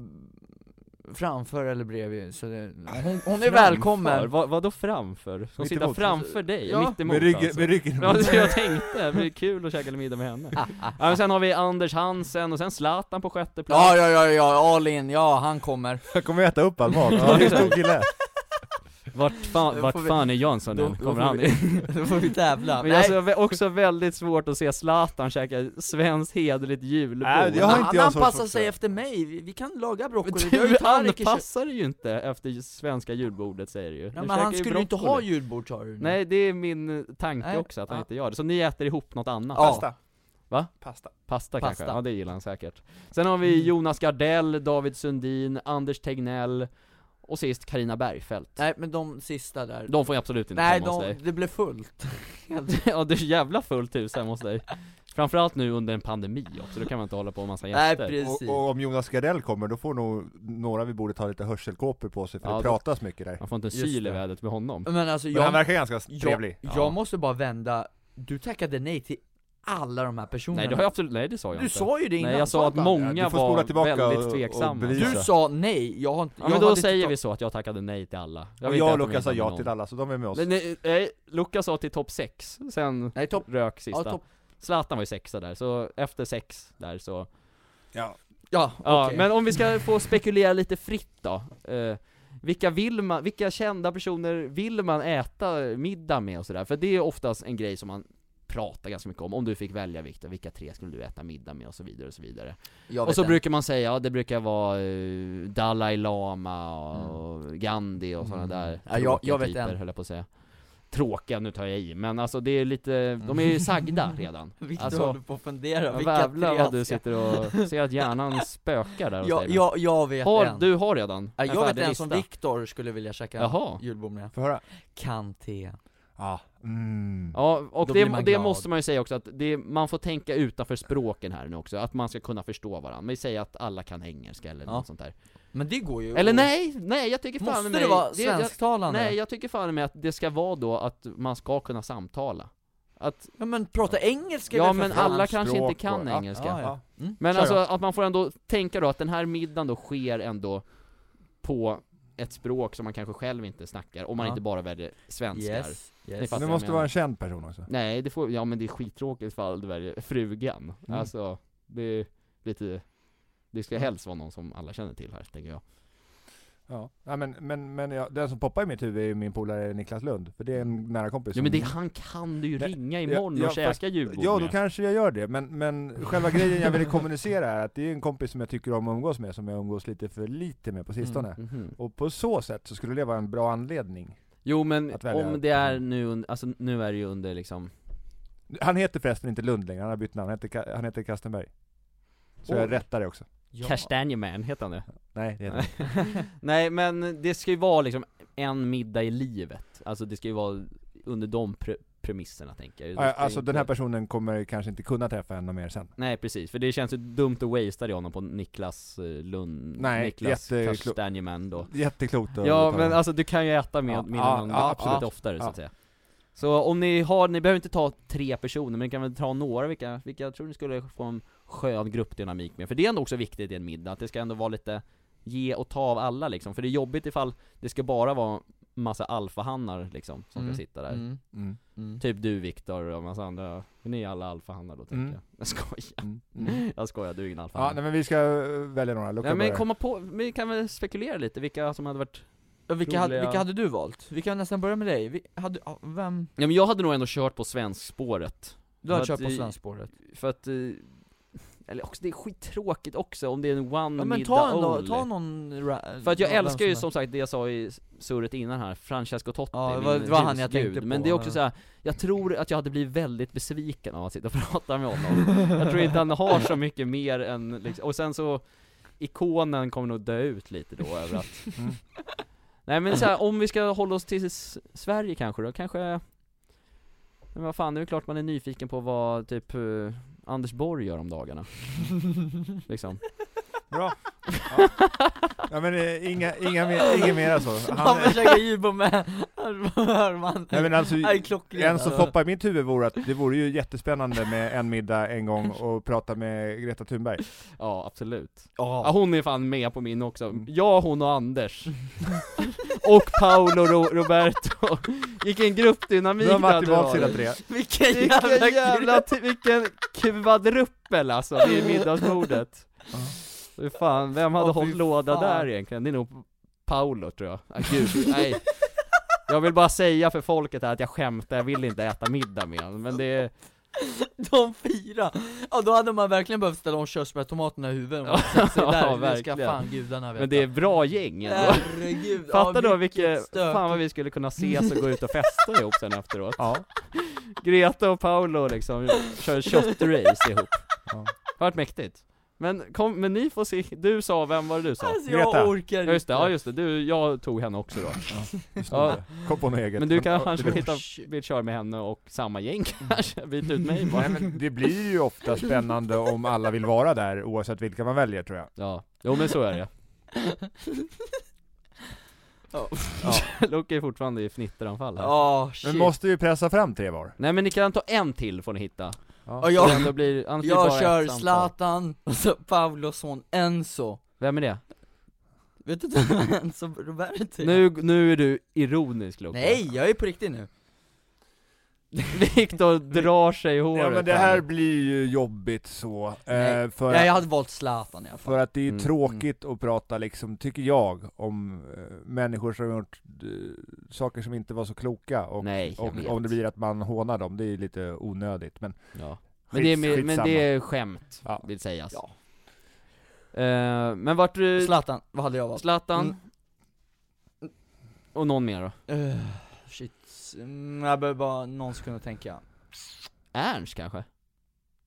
framför eller bredvid, så det, hon, hon är
Framför?
välkommen!
Vad, vadå framför? Hon sitter
Mittemot.
framför dig,
Ja.
mittemot
Med ryggen,
alltså.
med ryggen
Ja, det jag tänkte, det blir kul att käka lite middag med henne ja, men Sen har vi Anders Hansen och sen Zlatan på sjätte plats
Ja, ja, ja, ja, all in, ja han kommer.
Jag kommer äta upp all mat, han är en stor kille
Vart fan,
Då
vart
får vi-
fan är Jansson
Då-
nu?
då
Kommer
får
han
vi- Då får vi tävla.
Men
Nej.
alltså, vä- också väldigt svårt att se Zlatan käka svenskt hederligt julbord
Nej, det har
han
inte
han
jag så
anpassar
svårt
sig
för.
efter mig, vi, vi kan laga broccoli, vi har
Du
ju tallrik i kö-
anpassar dig ju inte efter svenska julbordet säger du ju
Ja,
Du
men
käkar
han skulle ju inte
broccoli.
ha julbord sa du
Nej det är min eh, tanke
Mm. Nej.
också, att han
Ja.
inte gör det. Så ni äter ihop något annat?
Ja.
Pasta
Va?
Pasta
Pasta, kanske?
Pasta.
Ja det gillar han säkert Sen har vi
Mm.
Jonas Gardell, David Sundin, Anders Tegnell Och sist Karina Bergfeldt
Nej men de sista där
De får ju absolut inte
Nej,
komma hos
de,
dig
det blev fullt
Ja det är jävla fullt hus hemma hos dig Framförallt nu under en pandemi också, då kan man inte hålla på med massa
Nej
gäster
och,
precis
och om Jonas Gardell kommer, då får nog några vid bordet ha lite hörselkåpor på sig, för
Ja,
det
då-
pratas mycket där
Man får inte en
Just
syl i
det.
vädret med honom
Men alltså
Men han
jag,
verkar ganska
jag,
trevlig
Ja.
jag måste bara vända, du tackade nej till alla de här personerna
Nej det har jag absolut, nej det sa jag
Du
inte
sa ju det innan
Nej jag sa att
Zlatan.
många
Ja, du får spola
var
tillbaka och-
väldigt
och
tveksamma
bevisa.
Du sa nej, jag har inte,
Ja men
hade
då
inte
säger
tagit-
vi så att jag tackade nej till alla
Och
vet
jag
inte
och
om
Luca sa
är
ja
någon.
till alla, så de är med oss
Nej, nej, nej, eh, Lukas sa till topp 6, sen
Nej topp,
rök sista
ja topp,
Zlatan var ju sexa där, så efter sex där så
ja.
ja,
Ja
okej.
men om vi ska få spekulera lite fritt då eh, vilka, vill man, vilka kända personer vill man äta middag med och sådär? För det är oftast en grej som man pratar ganska mycket om, om du fick välja Viktor, vilka tre skulle du äta middag med och så vidare och så vidare
Jag
Och
vet
så
inte.
brukar man säga, ja det brukar vara eh, Dalai Lama och Gandhi och sådana
Mm.
där
Ja, jag- jag vet
typer
en.
höll jag på att säga Tråkiga, nu tar jag i, men alltså det är lite, de är ju sagda redan
Viktor
Alltså,
håller på att fundera, vilka
Jävlar
tre
vad du
ska-
sitter och ser att hjärnan spökar där hos
jag,
dig
jag, jag vet
har,
en
Du har redan
Ja,
en
Jag vet
färdig
en som
lista.
Viktor skulle vilja käka
Jaha.
julbord med
Får jag höra?
Kanté
Ja, mm.
Ja, och det,
Då blir man
det
glad.
måste man ju säga också att det, man får tänka utanför språken här nu också, att man ska kunna förstå varandra. Vi säger att alla kan engelska eller
Ja.
något sånt där.
Men det går ju
Eller
att-
nej, nej jag tycker fan
Måste
med
det
mig-
vara
jag-
svensktalande?
Nej, jag tycker fan med att det ska vara då att man ska kunna samtala. Att,
Ja men prata engelska
ja
väl för
men
fan.
alla kanske
Språk
inte kan
och- ja,
engelska.
ja,
ja.
Mm.
Men
Kör
alltså
då.
att man får ändå tänka då att den här middagen då sker ändå på ett språk som man kanske själv inte snackar, om man
Ja.
inte bara väljer svenskar.
Yes,
Ni
yes.
fattar.
Det
jag
måste
menar.
vara en känd person också
Nej, det får, ja men det är skittråkigt ifall du väljer frugan.
Mm.
Alltså, det är lite, det ska helst vara någon som alla känner till här, tänker jag.
Ja, ja men, men, men jag, den som poppar i mitt huvud är ju min polare Niklas Lund, för det är en nära kompis
Ja
som-
men det, han kan du ju
Nej,
ringa
ja,
imorgon
ja,
och käka
fast-
julbord
Ja, då
med.
kanske jag gör det, men, men själva grejen jag ville kommunicera är att det är en kompis som jag tycker om att umgås med, som jag umgås lite för lite med på sistone.
Mhm.
Och på så sätt så skulle det vara en bra anledning.
Jo men
Att välja-
om det är nu, un- alltså nu är det ju under liksom
Han heter förresten inte Lund längre, han har bytt namn, han heter, Ka- han heter Kastenberg. Så
Oj.
jag rättar det också.
Ja.
Kastanjeman, heter han det?
Nej, det heter han.
Nej men det ska ju vara liksom en middag i livet, alltså det ska ju vara under de pre- premisserna tänker jag Det
Ja,
ska
Alltså
inte-
den här personen kommer kanske inte kunna träffa henne mer sen.
Nej precis, för det känns ju dumt att wastea det honom på Niklas eh, Lund,
Nej,
Niklas
jätteklo-
Kastanjeman då
Jätteklokt att
Ja
ta
men
den.
alltså du kan ju äta med,
Ja,
med
ja,
någon
ja,
absolut
absolut.
oftare så
Ja.
att säga Så om ni har, ni behöver inte ta tre personer men ni kan väl ta några, vilka, vilka tror ni skulle få en skön gruppdynamik med? För det är ändå också viktigt i en middag, att det ska ändå vara lite ge och ta av alla liksom, för det är jobbigt ifall det ska bara vara massa alfahannar liksom, som
Mm.
ska sitta där
Mm.
Mm.
Mm.
Typ du Viktor och massa andra, ni är alla alfahannar då tänker
Mm.
jag Jag skojar,
Mm. Mm.
jag skojar, du är ingen
Ja,
alfahanne
nej, men vi ska eh, välja några. Luca
Nej men
börjar.
komma på, vi kan väl spekulera lite vilka som hade varit
Ja, Vilka, hade,
Roliga-
vilka hade du valt? Vi kan nästan börja med dig, vi hade, ja, vem?
Ja men jag hade nog ändå kört på svenskspåret
Du hade
Att
kört på
vi-
Svenskspåret
För att, eh, eller också det är skittråkigt också om det är en one
Ja men
Mm, middag
ta en då,
only.
ta någon ra-
För att jag
någon- vem
älskar ju
helst.
som sagt det jag sa i surret innan här, Francesco Totti,
Ja, det
min
var- det var han jag
husgud.
tänkte på,
Men det är också
ja.
så här, jag tror att jag hade blivit väldigt besviken av att sitta och prata med honom Jag tror inte han har så mycket mer än liksom, och sen så Ikonen kommer nog dö ut lite då över att
Mm.
Nej men så här, om vi ska hålla oss till S- Sverige kanske då, kanske Men vad fan, det är ju klart man är nyfiken på vad typ eh, Anders Borg gör om dagarna Liksom
Bra. Ja. ja men eh, inga, inga, mer, inga mera så. Han,
Han försöker ljuga med, hör man?
nej men alltså,
Är klockren,
en som poppar i mitt huvud vore att det vore ju jättespännande med en middag en gång och prata med Greta Thunberg.
Ja absolut Ja
Ja,
hon är fan med på min också,
Mm.
jag, hon och Anders Och Paolo Ro- Roberto Vilken gruppdynamik
Nu har Martin
hade
valt
varit.
sina tre.
vilken jävla,
Vilken
jävla
jävla, t- vilken kvadruppel alltså vid middagsbordet Fy fan, vem hade
Åh, fy
hållit låda
fan.
där egentligen? Det är nog Paolo tror jag, ah, gud, nej Jag vill bara säga för folket här att jag skämtar, jag vill inte äta middag med honom, men det är
De fyra! Ja då hade man verkligen behövt ställa om körsbärtomaterna i huvudet om man satt sig
Ja,
där, det ska
verkligen.
fan gudarna veta
Men det är bra gäng ändå.
Herregud,
Fatta
ja,
då vilket,
stök.
fan vad vi skulle kunna ses och gå ut och festa ihop sen efteråt
Ja.
Greta och Paolo liksom, kör shotrace ihop
Ja.
Vart mäktigt Men kom, men ni får se, du sa, vem var det du sa?
Alltså
Greta.
jag orkar
Ja just det, ja just det, du, jag tog henne också då
just
Ja.
det. Kom på något eget.
Men du kan
Ja,
kanske
det- Mm.
hitta, vill köra med henne och samma gäng kanske, byt ut mig bara
Nej, men det blir ju ofta spännande om alla vill vara där oavsett vilka man väljer tror jag.
Ja, jo men så är det
Ja.
Loke är fortfarande i fnitteranfall här
Ja, shit
Men måste ju pressa fram tre var.
Nej men ni kan ta en till får ni hitta,
Ja,
Så det
jag,
ändå blir, annars blir det bara
jag
ett
kör
samtal.
Zlatan, och så Paulos son Enzo
Vem är det?
Vet du inte vem Enzo Roberti är?
Nu, nu är du ironisk Loke
Typ. Nej, jag är på riktigt nu
Viktor drar sig i håret
Ja men det här blir ju jobbigt så. Eh,
Nej.
för,
Nej jag hade valt Zlatan i alla fall
för att det är
Mm.
tråkigt att prata liksom, tycker jag, om eh, människor som har gjort eh, saker som inte var så kloka och,
Nej, jag vet.
och om det blir att man hånar dem, det är ju lite onödigt men
ja.
skits,
men, det är, med- men
skitsamma.
det är skämt,
Ja.
vill sägas
Ja.
Eh, Men vart du,
Zlatan, vad hade jag valt?
Zlatan
Mm.
och någon mer då?
Eh, shit, mm, jag behöver bara någon sekund att tänka
Ernst kanske?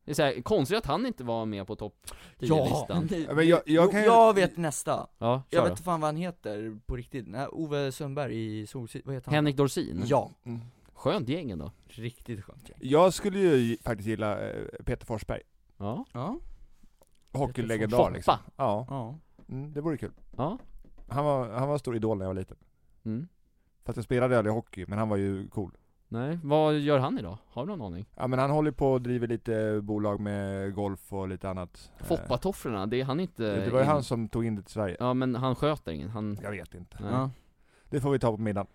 Det är så här, konstigt att han inte var med på topp 10-listan
Ja!
Ja,
Ja, men jag- jag kan ju-
jag vet nästa
kör
Jag vet
då.
inte fan vad han heter på riktigt, Nej, Ove Sundberg i Solsidan, vad heter han?
Henrik Dorsin?
Ja,
Mm.
Skönt gäng ändå
riktigt skönt gäng.
Jag skulle ju faktiskt gilla eh, Peter Forsberg,
Ja,
Ja,
hockeylegendar
Foppa.
liksom. Ja,
ja
mm, det vore kul.
ja,
Han var, han var en stor idol när jag var liten.
mm.
Fast jag spelade aldrig hockey, men han var ju cool.
nej, vad gör han idag? Har du någon aning?
Ja men han håller på och driver lite bolag med golf och lite annat. Eh,
Foppatofflorna, det är han inte
Det var ju
in-
han som tog in det till Sverige.
Ja men han sköter ingen, han, nej.
Jag vet inte.
Okej
Ja.
Det får vi ta på middagen.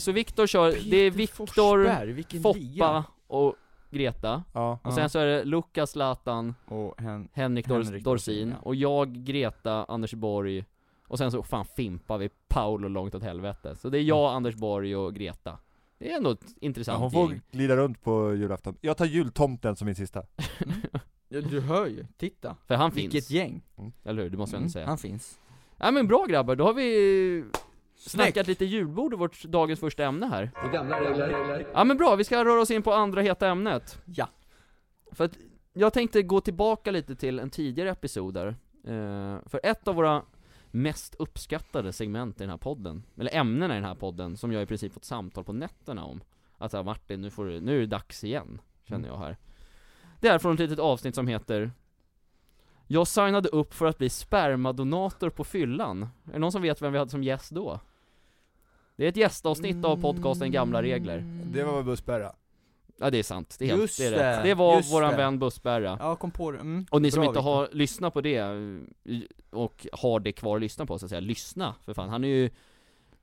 så Viktor kör, det är Viktor,
Forsberg, vilken liga.
Foppa och Greta
Ja.
Och
Ja.
sen så är det Lukas Zlatan,
och hen
Henrik, Dor-
Henrik
Dorsin
Dorsin, ja.
och jag, Greta, Anders Borg Och sen så fan fimpar vi Paolo långt åt helvete. Så det är jag, Anders Borg och Greta. Det är ändå ett
Ja, hon
intressant
får
gäng.
glida runt på julafton. Jag tar jultomten som min sista.
Ja, Du hör ju, titta.
För han finns,
Vilket gäng. Mm.
eller hur? Det måste jag ändå säga.
Han finns.
Nej men bra grabbar, då har vi snackat
Snyggt.
lite julbord i vårt dagens första ämne här.
Gamla regler.
Ja men bra, vi ska röra oss in på andra heta ämnet.
Ja.
För att jag tänkte gå tillbaka lite till en tidigare episod där. Eh, för ett av våra mest uppskattade segment i den här podden, eller ämnena i den här podden, som jag i princip fått samtal på nätterna om. Att så här, Martin, nu, får du, nu är det dags igen, känner jag här. Det är från ett litet avsnitt som heter Jag signade upp för att bli spermadonator på fyllan. Är det någon som vet vem vi hade som gäst då? Det är ett gästavsnitt av podcasten Gamla Regler.
Det var väl Bussberga?
Mm. Ja det är sant, det är, helt,
Just
det, är
det,
rätt. det var
just
våran
det.
vän Bussberga
Ja, kom på det. Mm.
Och ni som
Bra,
inte
Victor.
har lyssnat på det, eh, och har det kvar att lyssna på så att säga, lyssna för fan, han är ju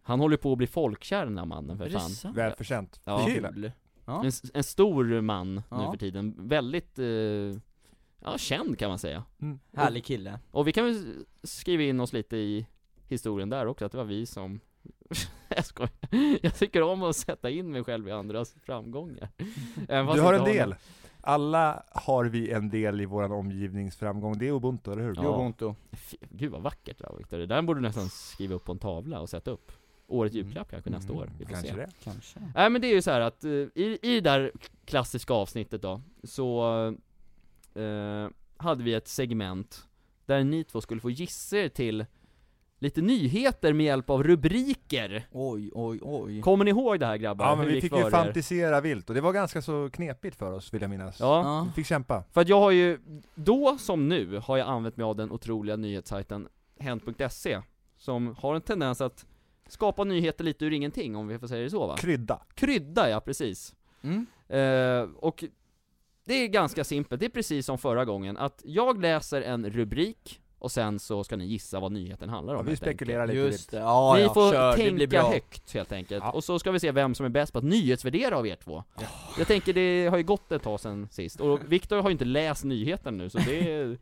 Han håller på att bli folkkär den här mannen för
Är det
fan
sant?
Välförtjänt.
Ja.
Kul.
Kul.
en, s- en stor man nu
Ja.
för tiden, väldigt eh, Ja, känd kan man säga
Mm. Härlig kille.
Och vi kan väl skriva in oss lite i historien där också, att det var vi som Jag skojar. Jag tycker om att sätta in mig själv i andras framgångar Även fast
Du har
jag
en
inte
del. Alla har vi en del i vår omgivningsframgång. Det är ubuntu, eller hur?
Ja.
Ubuntu.
Fy- Gud vad vackert det här Victor, det där borde du nästan skriva upp på en tavla och sätta upp Årets
Mm.
julklapp kanske nästa år, vi får
Kanske
se
det.
Kanske.
Nej men det är ju så här att eh, i, i det där klassiska avsnittet då, så eh, hade vi ett segment där ni två skulle få gissa er till lite nyheter med hjälp av rubriker
Oj, oj, oj.
Kommer ni ihåg det här grabbar?
Mm. Ja men
Hur
vi
gick
fick
för
ju
er?
fantisera vilt och det var ganska så knepigt för oss vill jag minnas.
Ja,
Ja.
Vi fick kämpa.
För att jag har ju, då som nu, har jag använt mig av den otroliga nyhetssajten Hent.se Som har en tendens att skapa nyheter lite ur ingenting, om vi får säga det så va?
Krydda.
Krydda ja, precis
Mm.
eh, Och det är ganska simpelt, det är precis som förra gången att jag läser en rubrik och sen så ska ni gissa vad nyheten handlar om
Ja, vi
helt
spekulerar
enkelt.
lite
Just
vilt.
det, ja,
Ni
ja.
får
Kör, det blir
tänka
bra.
högt helt enkelt,
Ja.
och så ska vi se vem som är bäst på att nyhetsvärdera av er två Jag tänker det har ju gått ett tag sedan sist, och Viktor har ju inte läst nyheten nu så det är,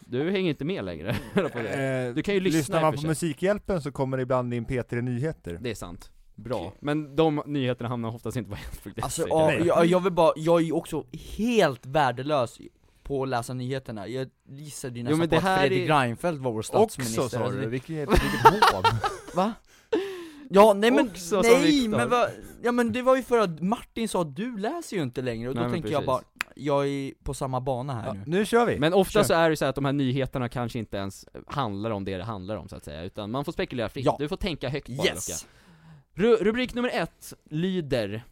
Du hänger inte med längre på det.
Eh,
Du kan ju lyssna
Lyssnar
i och
man
för
på
sig.
Musikhjälpen så kommer det ibland in P3 Nyheter.
Det är sant, bra. Men de nyheterna hamnar oftast inte på Hent.se
Alltså, ja,
Nej.
jag, jag vill bara, jag är ju också helt värdelös på att läsa nyheterna. Jag gissade ju
Jo,
nästan
men
på
det
att
här
Fredrik
är-
Reinfeldt var vår statsminister.
Också sa
Alltså,
du,
det-
vilket, vilket hån!
Va? Ja, nej men,
Också, sa
nej
Viktor.
men vad, ja men det var ju för att Martin sa att du läser ju inte längre, och
Nej,
då
men
tänker jag bara,
precis.
jag är på samma bana här
Ja,
nu
nu kör vi!
Men ofta
Kör.
så är det så här att de här nyheterna kanske inte ens handlar om det det handlar om så att säga, utan man får spekulera fritt,
Ja.
du får tänka högt bara Luca.
Yes!
Ru rubrik nummer ett lyder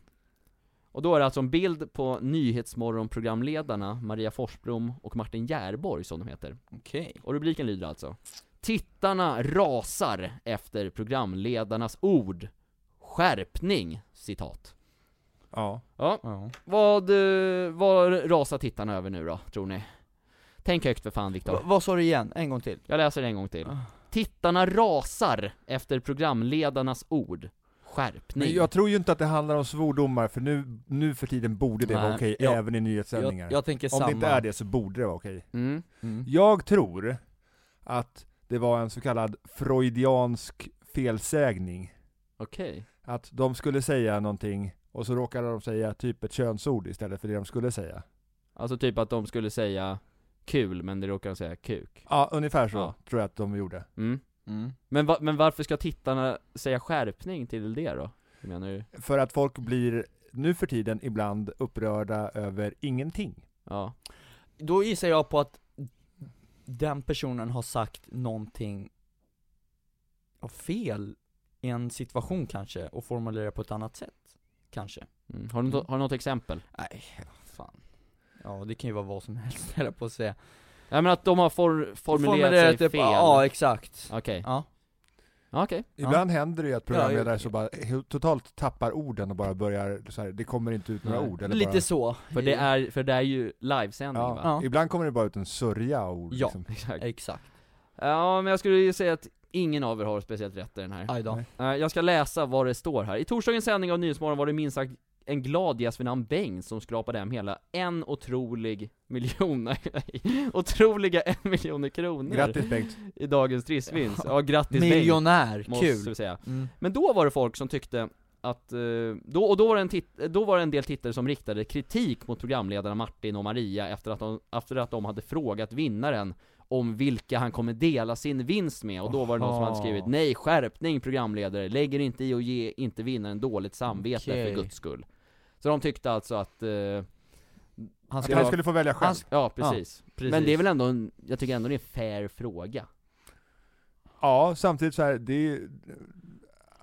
Och då är det alltså en bild på Nyhetsmorgon-programledarna Maria Forsblom och Martin Järborg som de heter
Okej
Och rubriken lyder alltså Tittarna rasar efter programledarnas ord Skärpning, citat
Ja.
Ja,
ja.
vad, eh, vad rasar tittarna över nu då, tror ni? Tänk högt för fan
Va-
Viktor,
Vad sa du igen? En gång till?
jag läser det en gång till Tittarna rasar efter programledarnas ord Skärpning
Men jag tror ju inte att det handlar om svordomar, för nu, nu för tiden borde det vara
Nej,
okej,
ja.
även i nyhetssändningar.
Jag, jag tänker
Om
samma
det inte är det så borde det vara okej.
mm.
Mm.
Jag tror att det var en så kallad freudiansk felsägning.
Okej
Att de skulle säga någonting, och så råkade de säga typ ett könsord istället för det de skulle säga.
Alltså typ att de skulle säga kul, men det råkade säga kuk.
Ja, ungefär så
Ja.
tror jag att de gjorde.
Mm.
Mm.
Men, va, men varför ska tittarna säga skärpning till det då? Jag menar ju,
För att folk blir nu för tiden ibland upprörda över ingenting.
ja.
Då gissar jag på att den personen har sagt någonting av fel i en situation kanske, och formulerar på ett annat sätt, kanske
Mm. Har, du något, har du något exempel?
Nej, fan Ja det kan ju vara vad som helst höll jag på att säga
Jag menar att de har for, formulerat, sig
typ,
fel.
Ja exakt
Okej,
Ja,
Ja, okej.
Ibland händer det ju att
Ja,
programledare
ja.
så bara he- totalt tappar orden och bara börjar så här, det kommer inte ut några
Nej.
ord. Eller
lite
bara,
så
För det är, för det är ju livesändning
ja,
va?
Ja.
Ibland kommer det bara ut en sörja av ord.
Ja.
Liksom.
Exakt.
Exakt,
Ja, men jag skulle ju säga att ingen av er har speciellt rätt i den här.
aj då
Nej.
Eh, Jag ska läsa vad det står här. I torsdagens sändning av Nyhetsmorgon var det minst sagt en glad gäst vid namn Bengt som skrapade hem hela en otrolig miljon, otroliga en miljoner kronor
Grattis Bengt!
i dagens trissvinst. Ja, grattis Bengt,
Miljonär,
måste
kul!
vi säga.
Mm.
Men då var det folk som tyckte att, eh, då, och då var, det en tit- då var det en del tittare som riktade kritik mot programledarna Martin och Maria efter att de, efter att de hade frågat vinnaren om vilka han kommer dela sin vinst med, och då var det någon som hade
Aha.
skrivit 'Nej, skärpning programledare, lägg er inte i och ge inte vinnaren dåligt samvete
Okej.
för guds skull' Så de tyckte alltså att, eh,
Han
Att
ska
han
vara,
skulle få välja själv?
Han ska-
ja precis.
precis.
Men det är väl ändå en, jag tycker ändå det är en fair fråga
Ja, samtidigt så här, det är,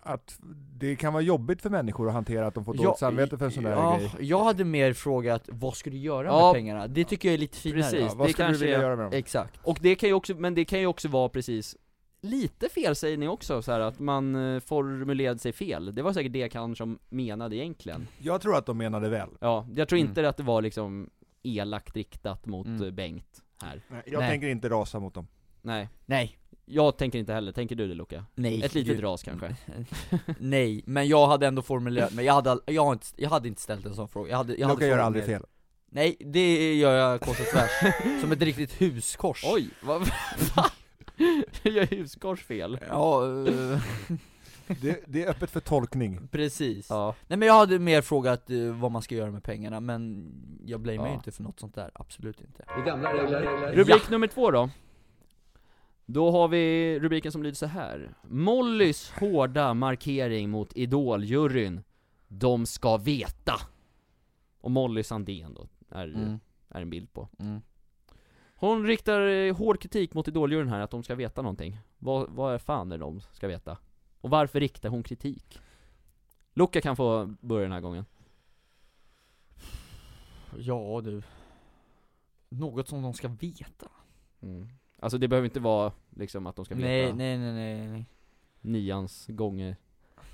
att det kan vara jobbigt för människor att hantera att de får dåligt
Ja,
samvete för en sån där
ja,
grej.
jag hade mer frågat, vad ska du göra
Ja.
med pengarna? Det tycker jag är lite finare
Precis.
Ja, vad
det
skulle du
kanske
vilja
är-
göra med dem?
Exakt
Och det kan ju också, men det kan ju också vara precis Lite felsägning också så här att man eh, formulerade sig fel, det var säkert det han som menade egentligen
Jag tror att de menade väl.
Ja, jag tror
Mm.
inte att det var liksom elakt riktat mot
Mm.
eh, Bengt här
Nej, Jag
Nej.
tänker inte rasa mot dem.
Nej,
Nej,
jag tänker inte heller, tänker du det Luca?
nej
Ett litet
gud.
ras kanske?
Nej, men jag hade ändå formulerat mig, jag hade, all- jag, har inte, jag hade inte ställt en sån fråga, jag hade, jag hade
Luka gör
formulerat-
aldrig fel.
Nej, det gör jag kors och tvärs, som ett riktigt huskors
Oj, vad fan? Jag gör huskors fel
Ja, eh,
Det, det är öppet för tolkning.
precis
Ja,
Nej men jag hade mer frågat eh, vad man ska göra med pengarna, men jag blamear ju
Ja.
inte för något sånt där, absolut inte
I gamla regler.
rubrik nummer två då Då har vi rubriken som lyder så här Mollys hårda markering mot idoljuryn De ska veta! Och Molly Sandén då, är,
Mm,
är en bild på Hon riktar eh, hård kritik mot idoljuryn här, att de ska veta någonting Vad, vad är fan är det de ska veta? Och varför riktar hon kritik? Luca kan få börja den här gången
Ja du Något som de ska veta
Alltså det behöver inte vara liksom att de ska veta
Mm. Nej, nej, nej, nej, nej.
nians gånger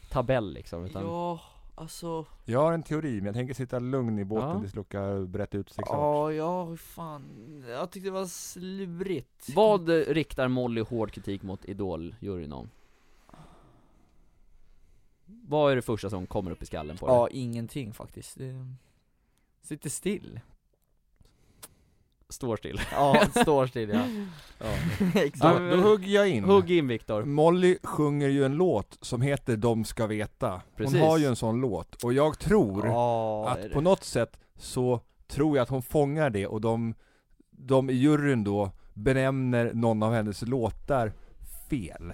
tabell liksom, utan
Ja, alltså,
Jag har en teori, men jag tänker sitta lugn i båten
Ja.
tills Luka brett ut sig klart.
ja, ja, hur fan, jag tyckte det var slurigt
Vad eh, riktar Molly hård kritik mot Idol-juryn om? Vad är det första som kommer upp i skallen på dig?
Ja, ingenting faktiskt Det- Sitter still
Står still.
Ja, står still ja,
Då,
Exakt
Ja,
då hugger jag in. Mm.
Hugg in Viktor.
Molly sjunger ju en låt som heter 'De ska veta'
Precis.
Hon har ju en sån låt, och jag tror
Ja,
det är
att
det.
på något sätt så tror jag att hon fångar det och de, de i juryn då benämner någon av hennes låtar fel.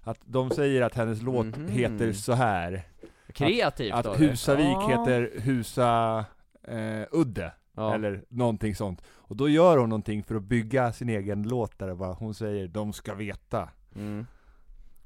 Att de säger att hennes låt
Mhm.
heter så här.
Kreativt av
att
dig.
Husavik
Ja.
heter Husa eh, Udde,
ja.
eller någonting sånt. Och då gör hon någonting för att bygga sin egen låt där det bara, hon säger 'De ska veta'
Mm.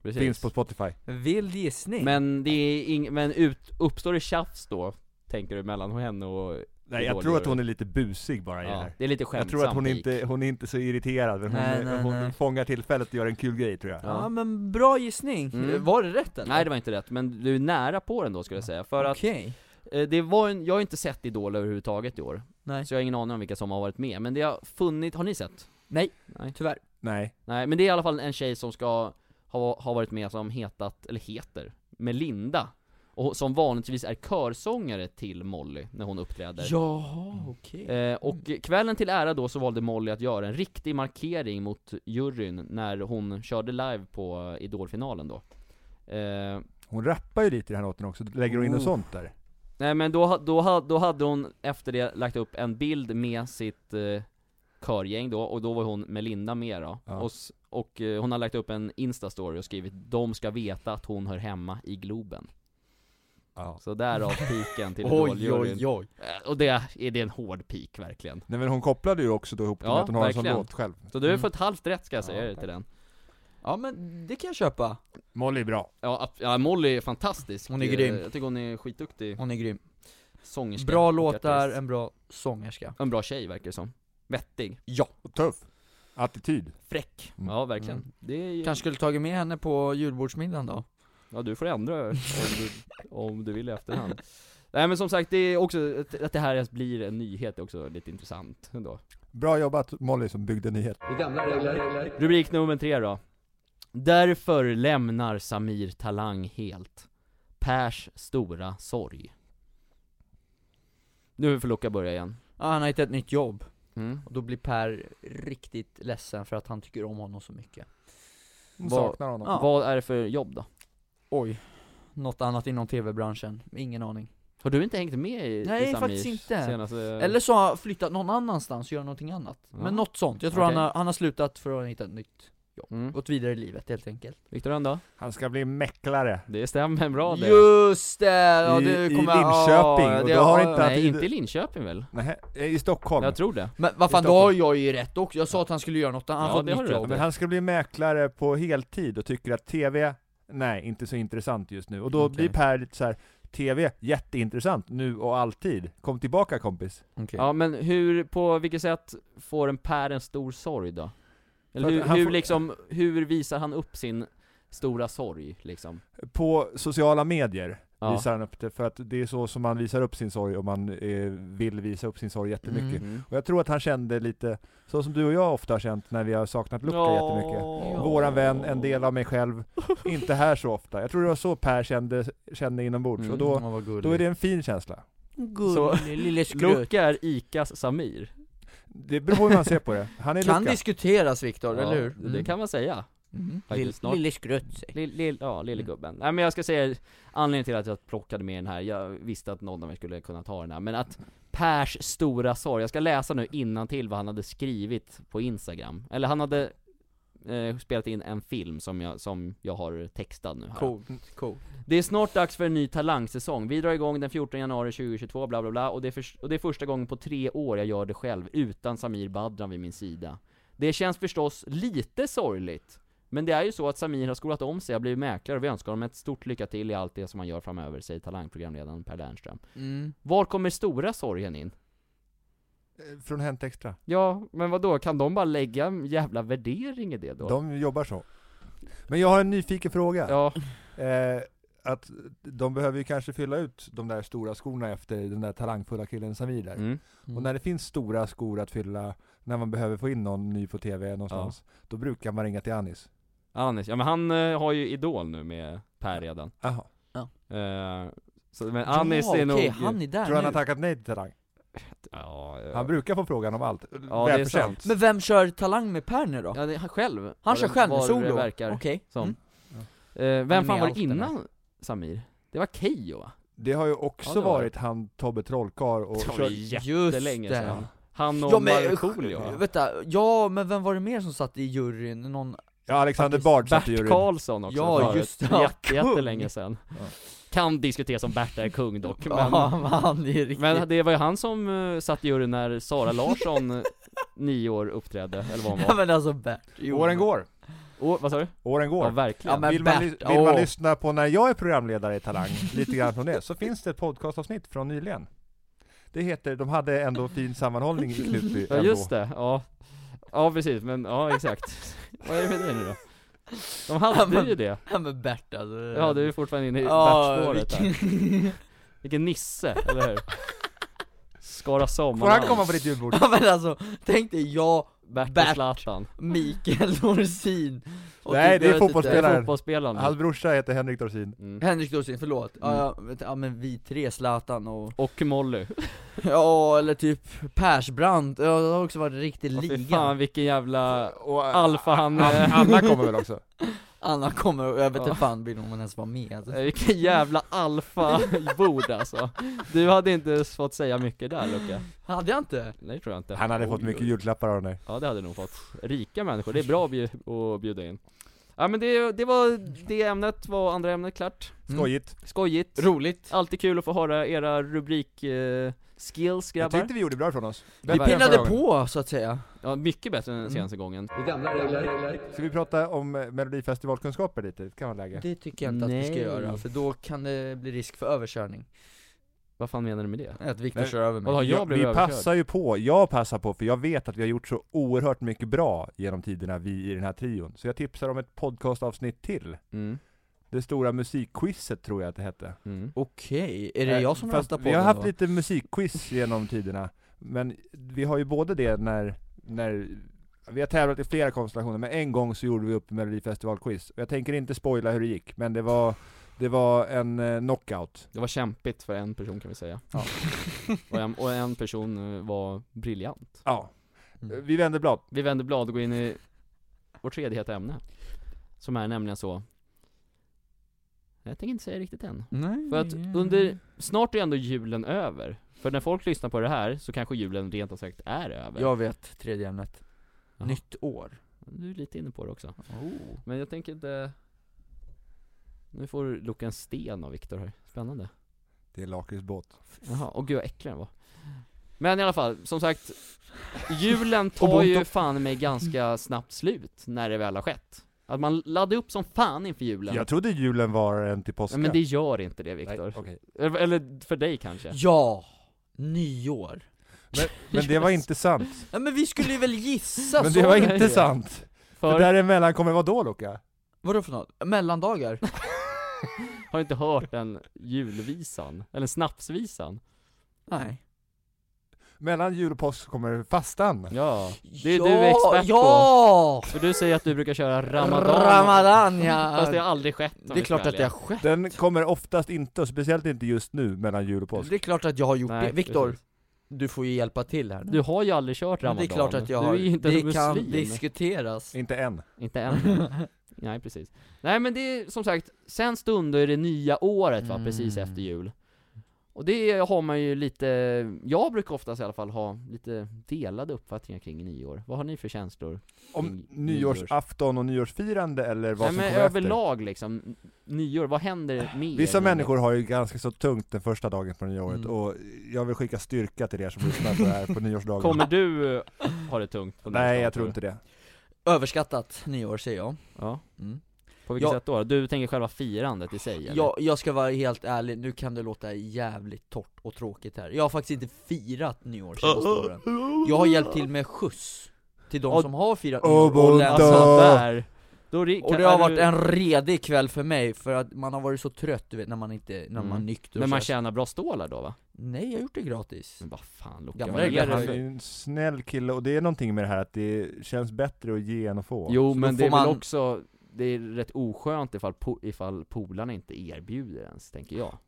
Precis.
Finns på Spotify.
vild gissning
Men det är ing- men ut- uppstår det tjafs då? Tänker du mellan henne och...
Nej jag
Dålig
tror att
jury.
hon är lite busig bara i det
Ja,
här.
det är lite
Jag
skämtsamt
tror att hon
lik.
inte, hon är inte så irriterad, men hon,
Nej, nej,
hon
nej.
fångar tillfället och gör en kul grej tror jag.
Ja
Ja.
men bra gissning,
Mm.
var det rätt eller?
Nej det var inte rätt, men du är nära på den då skulle jag säga, för att
Okej,
eh, det var en, jag har inte sett Idol överhuvudtaget i år,
nej,
så jag har ingen aning om vilka som har varit med, men det har funnits, har ni sett?
Nej.
Nej.
tyvärr
Nej.
Nej men det är i alla fall en tjej som ska ha, ha varit med som hetat, eller heter, Melinda Och som vanligtvis är körsångare till Molly när hon uppträder
Jaha, okej
Eh, och kvällen till ära då så valde Molly att göra en riktig markering mot juryn när hon körde live på idolfinalen då eh,
Hon rappar ju lite i den här låten också, lägger hon in något
Oh.
sånt där?
Nej men då, ha- då, ha- då hade hon efter det lagt upp en bild med sitt eh, körgäng då, och då var hon Melinda med då.
Ja.
Och, s- och eh, hon har lagt upp en instastory och skrivit 'De ska veta att hon hör hemma i Globen'
Ja.
Så därav piken till
Oj
Idoljuryn.
oj oj
Eh, Och det är, det är en hård pik verkligen.
Nej men hon kopplade ju också då ihop det
Ja,
med att hon har en
verkligen.
sån låt själv.
Så du har
Mm.
fått halvt rätt ska jag
Ja,
säga dig
tack.
till den.
Ja men det kan jag köpa,
Molly är bra.
Ja, ab- ja, Molly är fantastisk.
Hon är
Eh,
grym.
Jag tycker hon är skitduktig
hon är grym
sångerska.
Bra
och
låtar, eh.
artist.
en bra sångerska
En bra tjej verkar det som. Vettig.
Ja,
Och tuff. Attityd.
Fräck.
Mm.
Ja, verkligen.
Mm.
Det är ju...
kanske skulle tagit med henne på julbordsmiddagen då
Ja du får ändra om du, om du vill i efterhand Nej men som sagt, det är också, att- att det här ens blir en nyhet är också lite intressant ändå
Bra jobbat Molly som byggde nyhet.
I gamla regler.
Rubrik nummer tre då Därför lämnar Samir Talang helt Pers stora sorg Nu får Luca börja igen.
Ja, han har hittat ett nytt jobb,
Mm.
och då blir Per riktigt ledsen för att han tycker om honom så mycket
Hon
Vad-
saknar honom.
Ja.
Vad är det för jobb då?
Oj Något annat inom tv-branschen, ingen aning
Har du inte hängt med i
Nej,
i Samirs
faktiskt inte.
Senaste...
Eller så har han flyttat någon annanstans och gör någonting annat
Eh. Ja.
Men något sånt, jag tror
Okej.
han, har, han har slutat för att hitta ett nytt,
Mm.
gått vidare i livet helt enkelt
Viktor Rönn då?
Han ska bli mäklare.
Det stämmer bra det.
Just det! Ja,
I-
det
i
kommer,
Linköping,
ja,
och
det-
då har
ja,
inte-
Nej, inte i Linköping väl?
Nej, i Stockholm.
Jag tror det.
Men vad
I
fan, då
Stockholm.
har jag ju rätt också, jag sa att han skulle göra något, han
Ja,
har fått
det har
nytt
du rätt
Ja,
jobb
Men han ska bli mäklare på heltid och tycker att TV, nej, inte så intressant just nu. Och då
Okej.
blir Per lite så här. TV, jätteintressant, nu och alltid. Kom tillbaka kompis.
Ja men hur, på vilket sätt får en Per en stor sorg då? Eller
För att
hur,
han
hur
får-
liksom, hur visar han upp sin stora sorg liksom?
På sociala medier
Ja.
visar han upp det, för att det är så som man visar upp sin sorg och man eh, vill visa upp sin sorg jättemycket.
Mm.
Och jag tror att han kände lite, så som du och jag ofta har känt när vi har saknat Luca jättemycket. Våran vän, en del av mig själv, inte här så ofta. Jag tror det var så Per kände, kände inombords,
Mm.
och då, då är det en fin känsla.
Så-
Gullig lille skrutt
Luca är Icas Samir.
Det beror på hur man ser på det. Han är
Kan
Luca.
diskuteras Viktor, eller hur?
Det kan man säga.
Mm.
Faktiskt, snart.
lille skrutt säger
Lill, lill, ja, lille gubben. Nej men jag ska säga, anledningen till att jag plockade med den här, jag visste att någon av er skulle kunna ta den här, men att Pers stora sorg, jag ska läsa nu innan till vad han hade skrivit på Instagram. Eller han hade eh, spelat in en film som jag, som jag har textad nu här.
Coolt, coolt
Det är snart dags för en ny talangsäsong. Vi drar igång den 14 januari 2022, bla bla bla, och det, är förs- och det är första gången på tre år jag gör det själv, utan Samir Badran vid min sida. Det känns förstås lite sorgligt, men det är ju så att Samir har skolat om sig, har blivit mäklare och vi önskar honom ett stort lycka till i allt det som han gör framöver, säger talangprogramledaren Per Lernström.
mm.
Var kommer stora sorgen in?
Eh, Från Hänt Extra.
Ja, men vad då? kan de bara lägga en jävla värdering i det då?
De jobbar så. Men jag har en nyfiken fråga.
Ja,
Eh, att de behöver ju kanske fylla ut de där stora skorna efter den där talangfulla killen Samir där.
mm.
Och när det finns stora skor att fylla, när man behöver få in någon ny på TV någonstans, då brukar man ringa till Anis.
Anis, ja men han eh, har ju Idol nu med Per redan.
Aha.
Eh, så, men Anis är nog...
okej, han är där
Tror han har
nu
tackat nej till Talang?
Ja, ja.
Han brukar få frågan om allt.
Ja, det är
Välförtjänt.
Men vem kör Talang med Per nu då?
ja, det är han själv.
Han
Vad
kör
det-
själv,
vad det
solo?
verkar
Okej
som.
Mm.
Eh,
är
vem
med
fan
i
var
allt
det innan Samir? Det var Keyyo va?
Det har ju också
Ja, det var det.
varit han Tobbe Trollkarl och
Det var
kört-
jättelänge
Just det.
sedan. Han och
Ja,
ja,
men-
Markoolio va?
Vänta, ja men vem var det mer som satt i juryn? Någon...
Ja, Alexander
Faktiskt.
Bard satt i
Bert
juryn.
Karlsson också
Ja,
förut.
just det. Ja,
Jätte,
kung.
jättelänge sedan.
Ja.
Kan diskuteras om Bert är kung dock, men,
Ja, men han är riktigt...
men det var ju han som eh, satt i juryn när Sara Larsson, eh, nio år, uppträdde, eller vad hon
Ja
var.
men alltså Bert, jo.
Åren går.
Och, vad sa du?
Åren går.
Ja, verkligen.
Ja, men
vill man,
Bert,
ly- vill man
åh.
lyssna på när jag är programledare i Talang, lite grann från det, så finns det ett podcastavsnitt från nyligen. Det heter De hade ändå fin sammanhållning i Knutby
Ja just det, ja Ja precis, men ja exakt Vad är det med dig nu då? De
Ja,
hade
men-
ju det,
Ja men Bert alltså
ja du är fortfarande inne i
Ja,
världsspåret här
vilken-
Vilken nisse, eller hur? Skara
Får han
Sommarland,
komma på ditt julbord?
Ja men alltså, tänk dig jag,
Bert och
Bert.
Zlatan
Mikael Dorsin och
Nej,
typ,
det är
jag vet
fotbollsspelare.
Det
Spelaren.
är fotbollsspelaren
Hans brorsa heter Henrik Dorsin.
mm.
inte. Henrik Dorsin, förlåt.
Mm.
Ja, ja, vänta, ja men vi tre, Zlatan och,
Och Molly,
ja eller typ Persbrandt, ja det har också varit en riktig
Åh, fy
liga
fan vilken jävla
Och, äh,
alfa han,
An-
eh,
Anna kommer väl också?
Anna kommer och jag vet inte
Ja.
fan vill hon ens vara med alltså.
eh, vilken jävla alfa-bord alltså Du hade inte fått säga mycket där Luca,
Hade jag inte? Mm.
nej tror jag inte
Han hade fått
Oj,
mycket
oj.
julklappar av dig.
Ja det hade jag nog fått. Rika människor, det är bra att bju- att bjuda in. Ja men det, det var det ämnet, var andra ämnet klart.
Mm.
Skojigt.
Skojigt.
Roligt.
Alltid kul att få höra era rubrik eh, skills
Jag
grabbar.
tyckte vi gjorde bra från oss.
Vi
Bättre än förra
pinnade
gången.
på så att säga.
Ja, mycket bättre än
Mm.
senaste gången.
Ska vi prata om eh, melodifestivalkunskaper lite? Det kan vara läge.
Det tycker jag inte att vi ska
Nej.
göra, för då kan det bli risk för överkörning.
Vad fan menar du med det?
Att Viktor
Nej.
kör över mig.
Vadå, jag blev
vi
överkörd.
passar ju på, jag passar på för jag vet att vi har gjort så oerhört mycket bra genom tiderna, vi i den här trion. Så jag tipsar om ett podcastavsnitt till.
Mm.
Det stora musikquizet tror jag att det hette. Eh,
Mm.
Okej, är det jag som
Fast
röstar på
Vi har
den
haft
då?
lite musikquiz genom tiderna, men vi har ju både det när, när vi har tävlat i flera konstellationer, men en gång så gjorde vi upp Melodifestivalquiz. Och Jag tänker inte spoila hur det gick, men det var Det var en eh, knockout.
Det var kämpigt för en person kan vi säga.
Ja.
Och en, och en person eh, var briljant.
Ja.
Mm.
Vi vänder blad.
Vi vänder blad och går in i vårt tredje heta ämne. Som är nämligen så. Jag tänker inte säga riktigt än.
Nej.
För att under, snart är ändå julen över. För när folk lyssnar på det här så kanske julen rent och sagt är över.
Jag vet tredje ämnet.
Jaha.
Nytt år.
Du är lite inne på det också.
Oh.
Men jag tänker inte... Nu får du Luka en sten av Viktor här. Spännande.
Det är lakritsbåt.
Jaha, och gud vad äcklig den var. Men i alla fall, som sagt, julen
Och
tar
Bonto.
ju fan mig ganska snabbt slut när det väl har skett. Att man laddar upp som fan inför julen.
Jag trodde julen var en till påska.
Nej, men det gör inte det
Nej,
Viktor.
okej.
Eller- Eller för dig kanske.
Ja! Nyår.
men, men det var inte sant.
Ja, men vi skulle ju väl gissa
Men
sa
det var
du
inte sant. För
För,
däremellan kommer vara då Luka.
Vadå för något? Mellandagar?
har du inte hört den julvisan? Eller snapsvisan?
Nej
Mellan jul och påsk kommer fastan.
Ja, det är du expert på.
ja!
För du säger att du brukar köra ramadan.
Ramadan ja!
Fast det har aldrig skett om
det
vi
är
ska
klart
vara
att det har
ärliga.
skett
Den kommer oftast inte, och speciellt inte just nu, mellan jul och påsk.
Det är klart att jag har gjort
Nej,
det, Viktor,
precis.
du får ju hjälpa till här nu
Du har ju aldrig kört
Men
ramadan.
Det är klart att jag
Du
har,
är ju inte
det
en
kan
muslim.
diskuteras
Inte än.
Inte än. Nej precis. Nej men det är som sagt, sen stunder det nya året va, precis
Mm.
efter jul. Och det har man ju lite, jag brukar oftast i alla fall ha lite delade uppfattningar kring nyår. Vad har ni för känslor?
Om
Ny-
nyårsafton och nyårsfirande eller vad
Nej
som
men
kommer efter.
överlag liksom, n- nyår, vad händer mer?
Vissa
än
människor har ju ganska så tungt den första dagen på nyåret
Mm.
och jag vill skicka styrka till er som lyssnar på det här på nyårsdagen.
nyår? Kommer du eh, ha det tungt? på
Nej,
nyårsdagen,
jag tror inte det.
Överskattat nyår säger jag
Ja.
mm.
På vilket
Ja.
sätt då? Du tänker själva firandet i sig eller?
jag, jag ska vara helt ärlig, nu kan det låta jävligt torrt och tråkigt här Jag har faktiskt inte firat nyår senaste åren Jag har hjälpt till med skjuts till de
Och-
som har firat
och
nyår och
bonda.
Alltså
länsat
där, då ri-
Och
kan-
det har
är
varit
du-
en redig kväll för mig, för att man har varit så trött du vet, när man inte, när
Mm.
man Mm. är nykter och
Men man
så här.
tjänar bra stålar då va?
Nej jag har gjort det gratis
Men vad fan Luka,
Gamla
vad är
regler.
det
Han
för-
är ju en snäll kille och det är någonting med det här att det känns bättre att ge än att få.
Jo
Så
men
då
det är
får
väl
man-
också, det är rätt oskönt ifall, po- ifall polarna inte erbjuder ens, tänker jag.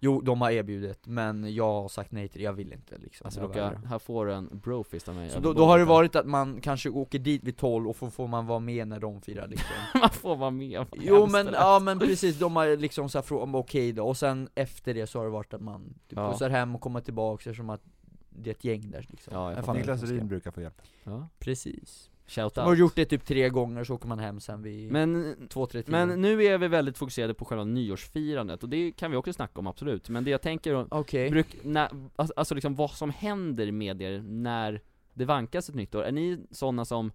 Jo, de har erbjudit, men jag har sagt nej till det, jag vill inte liksom
Alltså
Jag
Luka,
vägrar.
här får du en brofist av mig
Så
över
då, då har det
bordet här.
varit att man kanske åker dit vid 12 och får, får man vara med när de firar liksom
Man får vara med vad
Jo
hemskt
men,
det lät.
ja men precis, de har liksom så här frågat okej då, och sen efter det så har det varit att man typ
Ja.
pussar hem och kommer tillbaka eftersom att det är ett gäng där liksom
Ja, jag
En
fattar.
familj
Niklas
som ska-
Rin brukar få hjälp.
ja.
Precis
Shout
De har
out.
gjort det typ tre gånger, så åker man hem sen vid
Men,
två, tre timmar
men nu är vi väldigt fokuserade på själva nyårsfirandet, och det kan vi också snacka om absolut, men det jag tänker,
Okej
bruk, när, alltså- alltså liksom vad som händer med er när det vankas ett nytt år, är ni sådana som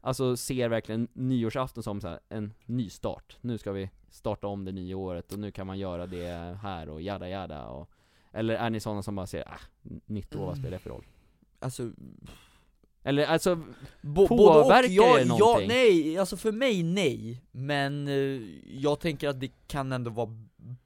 Alltså ser verkligen nyårsafton som så här, en ny start. Nu ska vi starta om det nya året och nu kan man göra det här och jada jada och Eller är ni sådana som bara ser ah, nytt år, vad spelar det för roll?
Alltså,
Eller alltså,
bo-
Påverkar
både och,
det
jag,
någonting?
jag, nej, alltså för mig nej Men eh, jag tänker att det kan ändå vara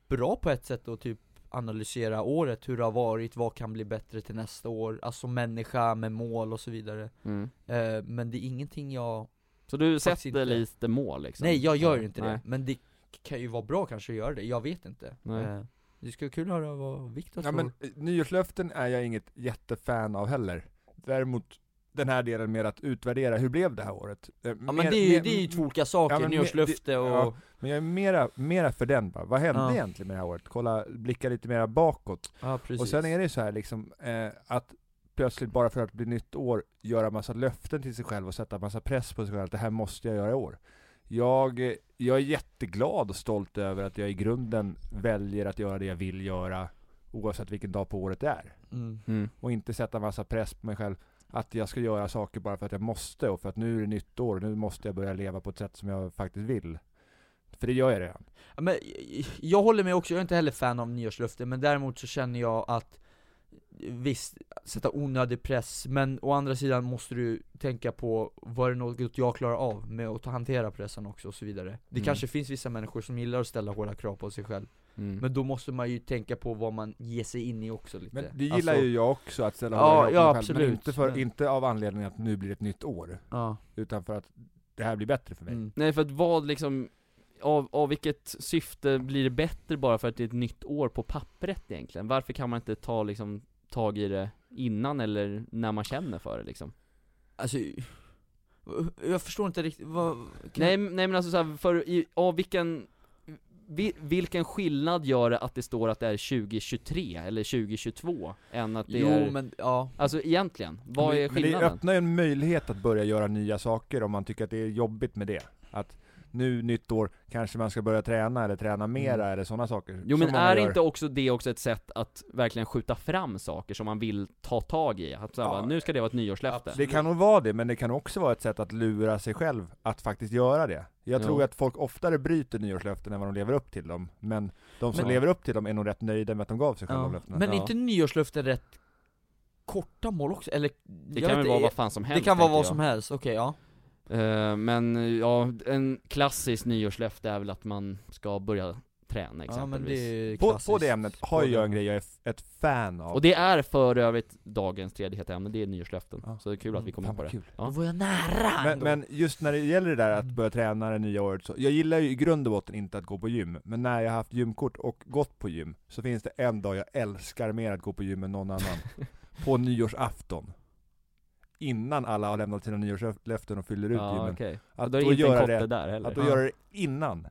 bra på ett sätt att typ analysera året, hur det har varit, vad kan bli bättre till nästa år Alltså människa med mål och så vidare
mm.
Eh, Men det är ingenting jag,
så du
Faktiskt
sätter
inte.
lite mål liksom?
nej jag gör
Ja,
inte
nej.
det Men det kan ju vara bra kanske att göra det, jag vet inte
Nej.
Eh, Det skulle vara kul att höra vad Viktor
Ja,
tror
men, eh, nyårslöften är jag inget jättefan av heller. Däremot den här delen med att utvärdera, hur blev det här året? Eh, Ja
Ja men det är ju, det är ju två olika saker,
men mer-
nyårslöfte
det-
och...
ja. Men jag är mera, mera för den bara. Vad hände
Ja.
egentligen med det här året? Kolla, blicka lite mera bakåt.
Ja, precis.
Och sen är det ju så här liksom, eh, att plötsligt bara för att bli nytt år göra massa löften till sig själv och sätta massa press på sig själv att det här måste jag göra i år. Jag, eh, jag är jätteglad och stolt över att jag i grunden väljer att göra det jag vill göra oavsett vilken dag på året det är.
mm.
Mm.
Och inte sätta massa press på mig själv att jag ska göra saker bara för att jag måste och för att nu är det nytt år och nu måste jag börja leva på ett sätt som jag faktiskt vill. För det gör jag redan.
Ja, men jag- jag håller med också, jag är inte heller fan av nyårslöften, men däremot så känner jag att Visst, sätta onödig press, men å andra sidan måste du tänka på Vad är något jag klarar av med att ta- hantera pressen också och så vidare Det
Mm.
kanske finns vissa människor som gillar att ställa hårda krav på sig själv
Mm.
Men då måste man ju tänka på vad man ger sig in i också lite
Men det gillar
Alltså,
ju jag också, att ställa
Ja,
hårda krav på
ja,
mig själv,
absolut.
Men inte, för,
Men-
inte av anledningen att nu blir det ett nytt år,
Ja,
utan för att det här blir bättre för mig.
mm.
Nej för att vad liksom av, av vilket syfte blir det bättre bara för att det är ett nytt år på pappret egentligen? Varför kan man inte ta liksom, tag i det innan eller när man känner för det liksom?
Alltså, jag förstår inte riktigt, vad... kan-
Nej, m- nej men alltså så här, för i, av vilken vi, vilken skillnad gör det att det står att det är 2023 eller 2022 än att det
Jo
är,
men, ja.
alltså egentligen, vad är
Men det
skillnaden?
öppnar ju en möjlighet att börja göra nya saker om man tycker att det är jobbigt med det. Att nu, nytt år, kanske man ska börja träna eller träna mera eller sådana saker.
Jo
som
men
många
är
gör.
inte också det också ett sätt att verkligen skjuta fram saker som man vill ta tag i? Att så här,
Ja.
bara, nu ska det vara ett nyårslöfte.
Det kan nog vara det, men det kan också vara ett sätt att lura sig själv att faktiskt göra det. Jag
Ja.
tror att folk oftare bryter nyårslöften än vad de lever upp till dem. Men de som
Men-
lever upp till dem är nog rätt nöjda med att de gav sig själva
ja.
de löftena.
Men
Ja.
är inte nyårslöften rätt korta mål också? Eller?
Det kan väl vara vad fan som helst
Det kan vara
tänker
vad
jag.
som helst, okej ja.
Eh, Men eh, ja, en klassisk nyårslöfte är väl att man ska börja träna exempelvis.
Ja men det är
På,
klassiskt.
på det ämnet har
På
jag
det.
en grej jag är f- ett fan av.
Och det är för övrigt dagens tredje heta ämne, det är nyårslöften.
Ja.
Så det är kul att vi kom in
Mm,
Mm.
på
Fan, vad
det.
kul.
Ja.
Då var jag nära
Men,
ändå.
men just när det gäller det där att börja träna det nya året så, jag gillar ju i grund och botten inte att gå på gym, men när jag har haft gymkort och gått på gym, så finns det en dag jag älskar mer att gå på gym än någon annan. på nyårsafton. Innan alla har lämnat sina nyårslöften och fyller ut
Ja
gymmen.
okej.
Att
Då är
då
det inte en
göra
kotte
det-
där heller.
Att då
Ja.
göra det innan,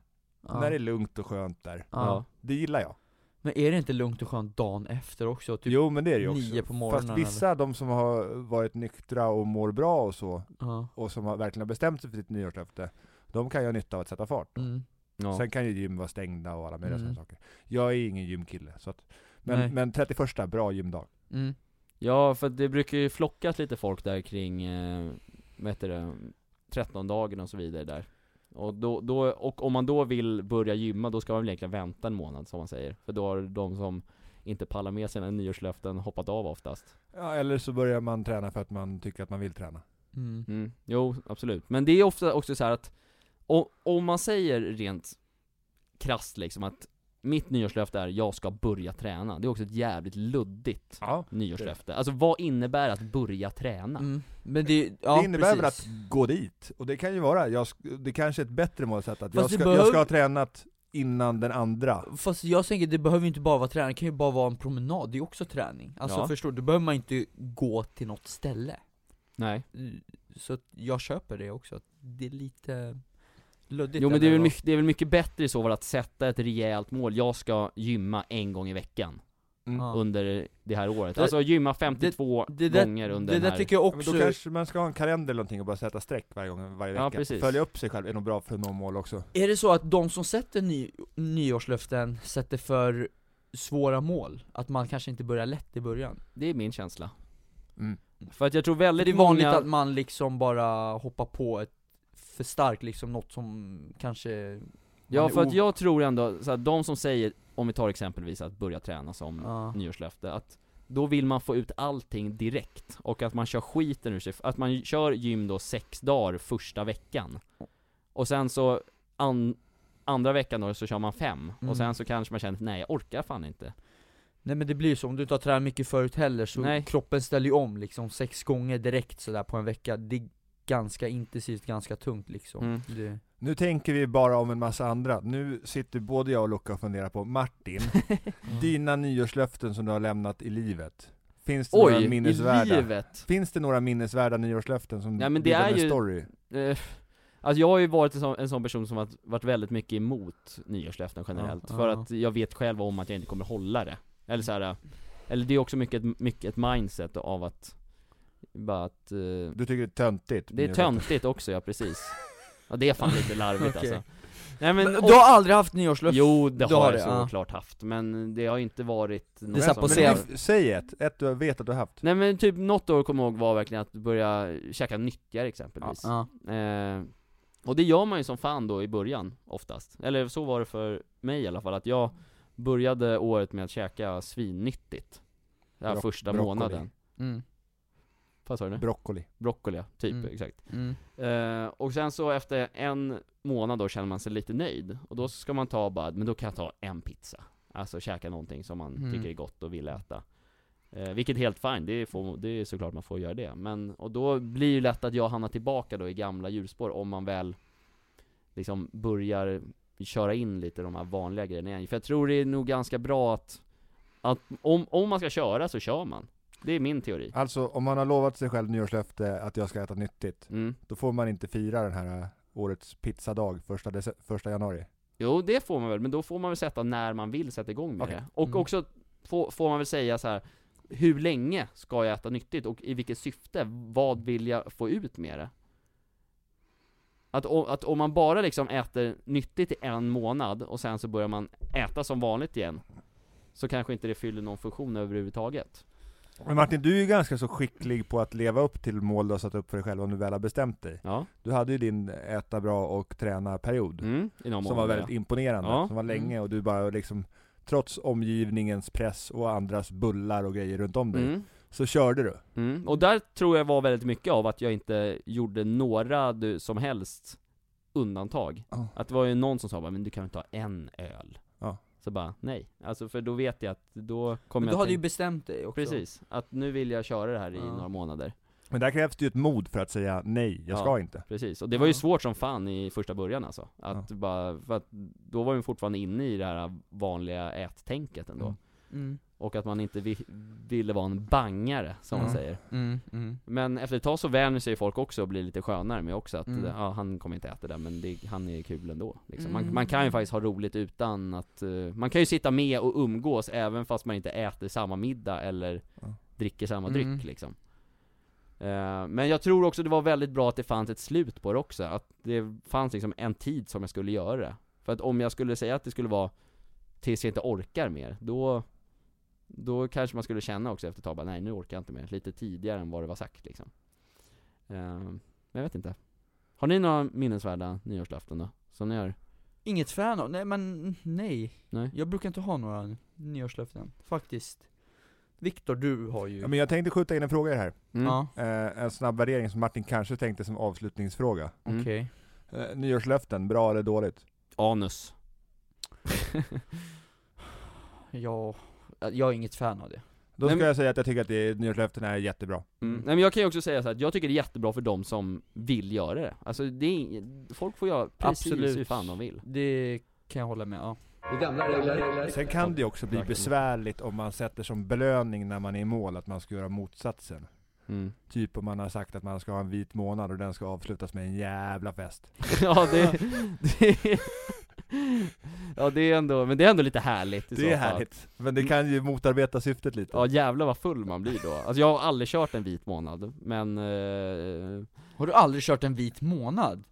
ja.
när det är lugnt och skönt där.
ja.
Ja.
Det gillar jag.
Men är det inte lugnt och skönt dagen efter också? Typ,
jo men det är det ju också.
nio på morgonen
Fast vissa, de som har varit nyktra och mår bra och så,
ja.
och som har verkligen har bestämt sig för sitt nyårslöfte, de kan ju ha nytta av att sätta fart.
Mm.
Ja.
Sen kan ju gym vara stängda och alla möjliga
Mm.
sådana saker. Jag är ingen gymkille, så att,
Nej.
men, men 31, bra gymdag.
Mm.
ja för det brukar ju flockas lite folk där kring, eh, vad heter det, 13 dagen och så vidare där. Och, då, då, och om man då vill börja gymma, då ska man väl egentligen vänta en månad som man säger. För då har de som inte pallar med sina nyårslöften hoppat av oftast.
Ja, eller så börjar man träna för att man tycker att man vill träna.
Mm.
Mm, jo, absolut. Men det är ofta också så här att, o- om man säger rent krasst liksom att mitt nyårslöfte är jag ska börja träna. Det är också ett jävligt luddigt
Ja.
nyårslöfte. Alltså vad innebär att börja träna?
Mm. Men det, ja,
det innebär väl
precis.
att gå dit, och det kan ju vara, jag, sk- det kanske är ett bättre målsätt att jag
det
ska,
behöver-
jag ska ha tränat innan den andra.
Fast jag tänker, det behöver ju inte bara vara träning, det kan ju bara vara en promenad, det är också träning Alltså
Ja.
förstår du, då behöver man inte gå till något ställe
Nej.
Så att jag köper det också, att det är lite luddigt
Jo men det är, väl
ändå.
mycket, det är väl mycket bättre i så fall att sätta ett rejält mål. Jag ska gymma en gång i veckan
Mm.
Ja.
under det här året.
Det-
Alltså gymma 52
Det där,
gånger under
det
den
där
här.
tycker jag
Ja, Men då
också,
kanske man ska ha en kalender eller någonting och bara sätta streck varje gång, varje
Ja,
vecka.
precis.
Följa upp sig själv är nog bra för att nå mål också.
är det så att de som sätter ny, nyårslöften sätter för svåra mål? Att man kanske inte börjar lätt i början?
Det är min känsla.
Mm.
För att jag tror
För
väldigt
det är vanligt
många...
att man liksom bara hoppar på ett för starkt liksom, något som kanske...
Ja
man är
för att
ov-
jag tror ändå, så här, de som säger, om vi tar exempelvis att börja träna som
Ja.
nyårslöfte, att då vill man få ut allting direkt och att man kör skiten ur sig, att man kör gym då sex dagar första veckan och sen så an, andra veckan då så kör man fem
Mm.
och sen så kanske man känner nej jag orkar fan inte.
Nej men det blir ju så, om du inte har tränat mycket förut heller så
Nej.
kroppen ställer ju om liksom sex gånger direkt sådär på en vecka Det är ganska intensivt, ganska tungt liksom
Mm.
det...
Nu tänker vi bara om en massa andra. Nu sitter både jag och Luca och funderar på, Martin, dina nyårslöften som du har lämnat i livet. Finns det
Oj,
några
i
minnesvärda?
livet!
Finns det några minnesvärda nyårslöften som
Nej, men det
bildar
är
en
ju-
story?
Eh, Alltså jag har ju varit en sån, en sån person som har varit väldigt mycket emot nyårslöften generellt,
Ja,
för
ja.
att jag vet själv om att jag inte kommer hålla det. Eller så här, eh, eller det är också mycket, ett- mycket ett mindset av att, bara att, eh,
Du tycker det är töntigt?
det är
nyårslöften.
töntigt också ja precis. Ja det är fan lite larvigt
Okej.
alltså. Nej men,
Men,
och,
du har aldrig haft nyårslöfte?
jo det
du
har,
har
jag
det, ja.
såklart haft, men det har inte varit något
är så här
som-
på scen.
Men nu- Säg ett, ett du vet att du har haft.
Nej men typ något år kommer jag ihåg var verkligen att börja käka nyttigare exempelvis.
Ja.
Eh, och det gör man ju som fan då i början, oftast. Eller så var det för mig i alla fall, att jag började året med att käka svinnyttigt. Den här
Bro-
första
broccoli.
månaden.
Mm.
Vad sa du nu?
Broccoli.
Broccoli, ja, typ,
Mm.
exakt.
Mm.
Eh, och sen så efter en månad då känner man sig lite nöjd. Och då ska man ta bara, men då kan jag ta en pizza. Alltså käka någonting som man
Mm.
tycker är gott och vill äta. Eh, vilket är helt fint, det, får- det är såklart man får göra det. Men, och då blir det ju lätt att jag hamnar tillbaka då i gamla hjulspår om man väl liksom börjar köra in lite de här vanliga grejerna igen. För jag tror det är nog ganska bra att, att om, om man ska köra så kör man. Det är min teori.
Alltså om man har lovat sig själv nyårslöfte att jag ska äta nyttigt,
Mm.
då får man inte fira den här eh, årets pizzadag första, dece- första januari.
Jo, det får man väl, men då får man väl sätta när man vill sätta igång med
Okej.
det. Och
Mm.
också får, får man väl säga så här. hur länge ska jag äta nyttigt och i vilket syfte? Vad vill jag få ut med det? Att, o- att om man bara liksom äter nyttigt i en månad och sen så börjar man äta som vanligt igen Så kanske inte det fyller någon funktion överhuvudtaget
Men Martin, du är ju ganska så skicklig på att leva upp till mål du har satt upp för dig själv om du väl har bestämt dig.
Ja,
Du hade ju din eh, äta bra och träna-period,
mm, i någon
som var
månad,
väldigt imponerande,
Ja.
som var länge och du bara liksom Trots omgivningens press och andras bullar och grejer runt om
ja.
dig,
mm,
så körde du.
mm. Och där tror jag var väldigt mycket av att jag inte gjorde några du, som helst undantag Att det var ju någon som sa bara, men du kan väl inte ha en öl?
Ja.
Så bara, nej. Alltså för då vet jag att då kommer
Men
jag
du hade ju
tänka-
bestämt dig också
Precis, att nu vill jag köra det här i
Ja.
några månader.
Men där krävs det ju ett mod för att säga nej, jag
Ja.
ska inte.
Precis, och det var ju
Ja.
svårt som fan i första början alltså. Att bara, för att då var man fortfarande inne i det här vanliga ättänket ändå.
Mm.
mm.
Och att man inte vi, ville vara en bangare, som man
Ja.
säger.
Mm. Mm.
Men efter ett tag så vänjer sig folk också och blir lite skönare med också att,
Mm.
ja han kommer inte äta det men det, han är kul ändå liksom. man,
Mm.
man kan ju faktiskt ha roligt utan att, eh, man kan ju sitta med och umgås även fast man inte äter samma middag eller
Ja.
dricker samma
Mm.
dryck liksom Eh, Men jag tror också det var väldigt bra att det fanns ett slut på det också, att det fanns liksom en tid som jag skulle göra det För att om jag skulle säga att det skulle vara tills jag inte orkar mer, då då kanske man skulle känna också efter ett tag bara, nej nu orkar jag inte mer, lite tidigare än vad det var sagt liksom Eh, Men jag vet inte Har ni några minnesvärda nyårslöften då? Som ni gör?
Inget fan av, nej men nej
Nej?
Jag brukar inte ha några nyårslöften, faktiskt Viktor, du har ju
Ja, men jag tänkte skjuta in en fråga i det här.
Mm.
Ja,
Eh, en snabb värdering som Martin kanske tänkte som avslutningsfråga.
Mm.
okej
Eh, nyårslöften, bra eller dåligt?
Anus
Ja, jag är inget fan av det
Då
Nej,
ska
men-
jag säga att jag tycker att det, nyårslöften är jättebra.
mm.
Mm.
Nej men jag kan ju också säga så här, att jag tycker det är jättebra för de som vill göra det Alltså det är ing- folk får göra precis
Absolut.
hur fan de vill
Det kan jag hålla med, ja
Sen kan det ju också bli
Verkligen.
besvärligt om man sätter som belöning när man är i mål att man ska göra motsatsen.
mm.
Typ om man har sagt att man ska ha en vit månad och den ska avslutas med en jävla fest.
Ja det, det Ja det är ändå, men det är ändå lite härligt i så
Det är
fall.
härligt. Men det kan ju motarbeta syftet lite.
Ja jävlar vad full man blir då, alltså jag har aldrig kört en vit månad, men eh,
Har du aldrig kört en vit månad?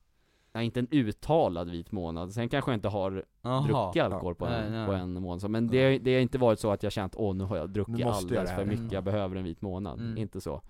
Nej, inte en uttalad vit månad, sen kanske jag inte har
Jaha
druckit alkohol på,
Nej,
en,
nej.
på en månad så. men det, det har inte varit så att jag känt åh nu har jag
Nu
druckit
måste jag
alldeles
det
för
här."
mycket, jag
Mm.
behöver en vit månad,
Mm.
inte så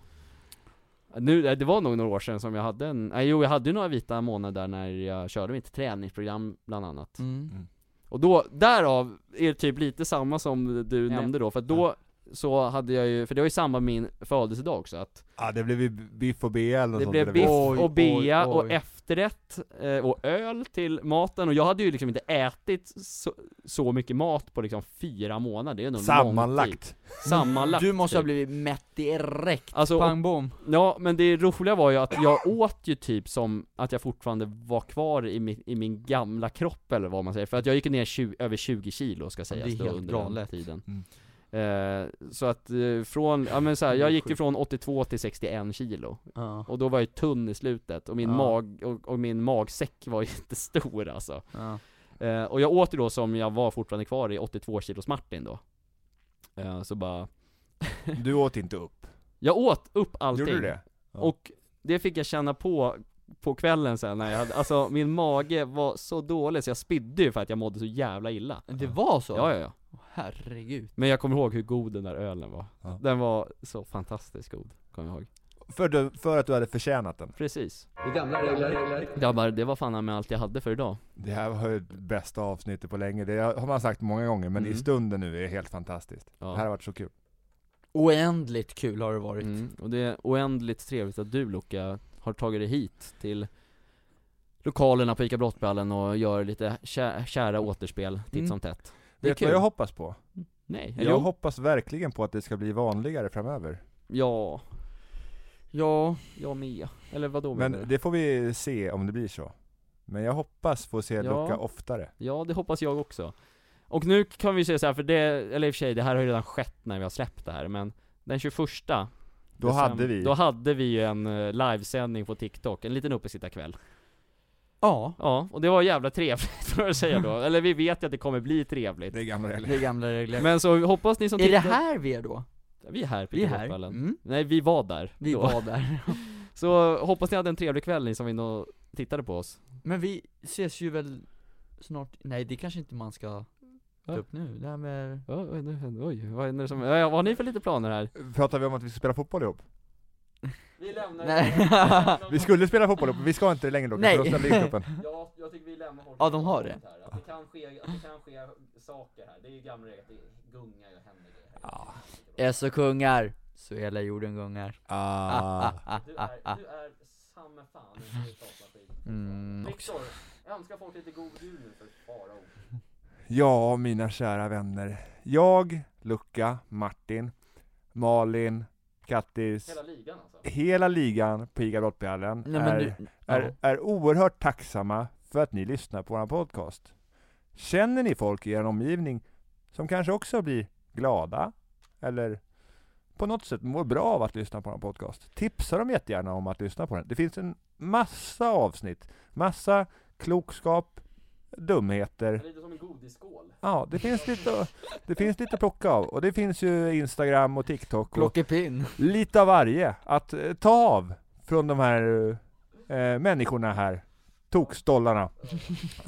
nu, det var nog några år sedan som jag hade en, nej jo jag hade ju några vita månader när jag körde mitt träningsprogram bland annat
mm.
Och då, därav är det typ lite samma som du
Ja.
nämnde då, för att då så hade jag ju, för det var ju samma med min födelsedag också att
Ja, det blev ju biff och BL och
Det
sånt
blev
där.
biff
Oj,
och bea
oj,
och
oj.
efterrätt eh, och öl till maten och jag hade ju liksom inte ätit så, så mycket mat på liksom fyra månader, det är nog lång tid.
Sammanlagt.
Sammanlagt
Du måste ha
typ.
blivit mätt direkt,
Alltså, och,
pang bom
ja men det roliga var ju att jag åt ju typ som att jag fortfarande var kvar i min, i min gamla kropp eller vad man säger, för att jag gick ner 20, över 20 kilo ska sägas
Det är
då,
helt
under den
galet.
tiden
Mm.
eh, Så att eh, från, ja men så här,
Det är
jag gick ju
sjukt.
från 82 till 61 kilo
Ja,
Och då var jag ju tunn i slutet, och min
Ja.
mag, och, och min magsäck var jättestor alltså
ja.
eh, Och jag åt ju då som jag var fortfarande kvar i 82 kilos Martin då eh, Så bara,
Du åt inte upp.
jag åt upp allting
Gjorde du det? Ja.
Och det fick jag känna på på kvällen sen när jag hade, alltså min mage var så dålig så jag spydde ju för att jag mådde så jävla illa
Det var så?
Ja ja ja,
Åh, Herregud
men jag kommer ihåg hur god den där ölen var
Ja.
Den var så fantastiskt god, kommer jag ihåg
För, du, för att du hade förtjänat den.
Precis
gamla
Grabbar, det var fan med allt jag hade för idag
Det här var ju det bästa avsnittet på länge. Det har man sagt många gånger, men i
Mm.
stunden nu är det helt fantastiskt.
Ja.
Det här har varit så kul.
Oändligt kul har det varit
Mm, och det är oändligt trevligt att du Luca har tagit dig hit till lokalerna på ICA Brottballen och gör lite kä- kära återspel titt
Mm.
som tätt. Det är
Vet du vad
kul.
jag hoppas på?
Nej,
Jag
jo.
hoppas verkligen på att det ska bli vanligare framöver.
Ja,
Ja,
jag med. Eller vadå
Men
menar du?
det får vi se om det blir så. Men jag hoppas få se
Ja.
Luca oftare.
Ja, det hoppas jag också. Och nu kan vi säga så här, för det, eller i och för sig, det här har ju redan skett när vi har släppt det här, men den 21
Då
december-
hade vi,
Då hade vi ju en eh, livesändning på TikTok, en liten uppesittarkväll.
Ja,
Ja, och det var jävla trevligt får jag säga då. Eller vi vet ju att det kommer bli trevligt.
det är gamla regler.
det är gamla regler
Men så hoppas ni som
Är det
tittar-
här vi är då?
Vi är här på
Vi är här?
Idrottskvällen.
Mm,
Nej, vi var där.
vi
då.
var där
Så hoppas ni hade en trevlig kväll ni som var inne och tittade på oss.
Men vi ses ju väl snart, nej det kanske inte man ska ta
Ja.
upp nu, det här med
Oj, oj, nu- oj, vad är det som, ja, vad har ni för lite planer här?
Pratar vi om att vi ska spela fotboll ihop?
Vi lämnar
Nej.
Vi skulle spela fotboll ihop, men vi ska inte längre Luca,
Nej.
för då ställer liggruppen.
Ja, jag tycker vi lämnar folk
Ja, de har det.
Här. Att det kan ske, att det kan ske saker här. Det är ju gamla regler, att det gungar och händer grejer.
Ja.
Är så kungar, så hela jorden gungar
Ah.
Du är, du är samme fan när du pratar skit.
Mm,
Viktor, jag önskar folk lite god jul nu för farao.
Ja, mina kära vänner. Jag, Luca, Martin, Malin, Kattis,
Hela ligan alltså.
hela ligan på IGA Brottbjällen
Nej men
är,
du,
är, är oerhört tacksamma för att ni lyssnar på vår podcast. Känner ni folk i er omgivning som kanske också blir glada eller på något sätt mår bra av att lyssna på vår podcast? Tipsa dem jättegärna om att lyssna på den. Det finns en massa avsnitt, massa klokskap, dumheter
Det är lite som en godisskål.
Ja, det finns lite, det finns lite att plocka av. Och det finns ju Instagram och TikTok och
plockepinn
lite av varje att eh, ta av från de här eh, människorna här. Tokstollarna.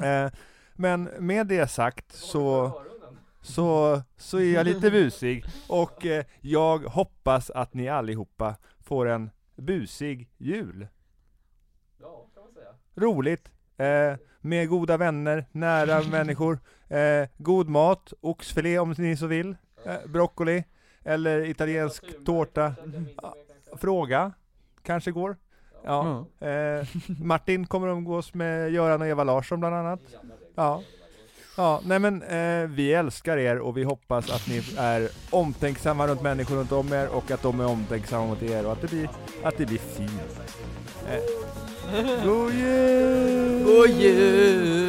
Eh, men med det sagt så, så, så är jag lite busig och eh, jag hoppas att ni allihopa får en busig jul.
Ja, kan man säga.
Roligt! Eh, med goda vänner, nära människor, eh, god mat, oxfilé om ni så vill, eh, broccoli eller italiensk tårta. Fråga, kanske går. Ja. Eh, Martin kommer att umgås med Göran och Eva Larsson bland annat. Ja. Ja, nej men eh, vi älskar er och vi hoppas att ni är omtänksamma runt människor runt om er och att de är omtänksamma mot er och att det blir, att det blir fint. Eh, god jul!
God jul!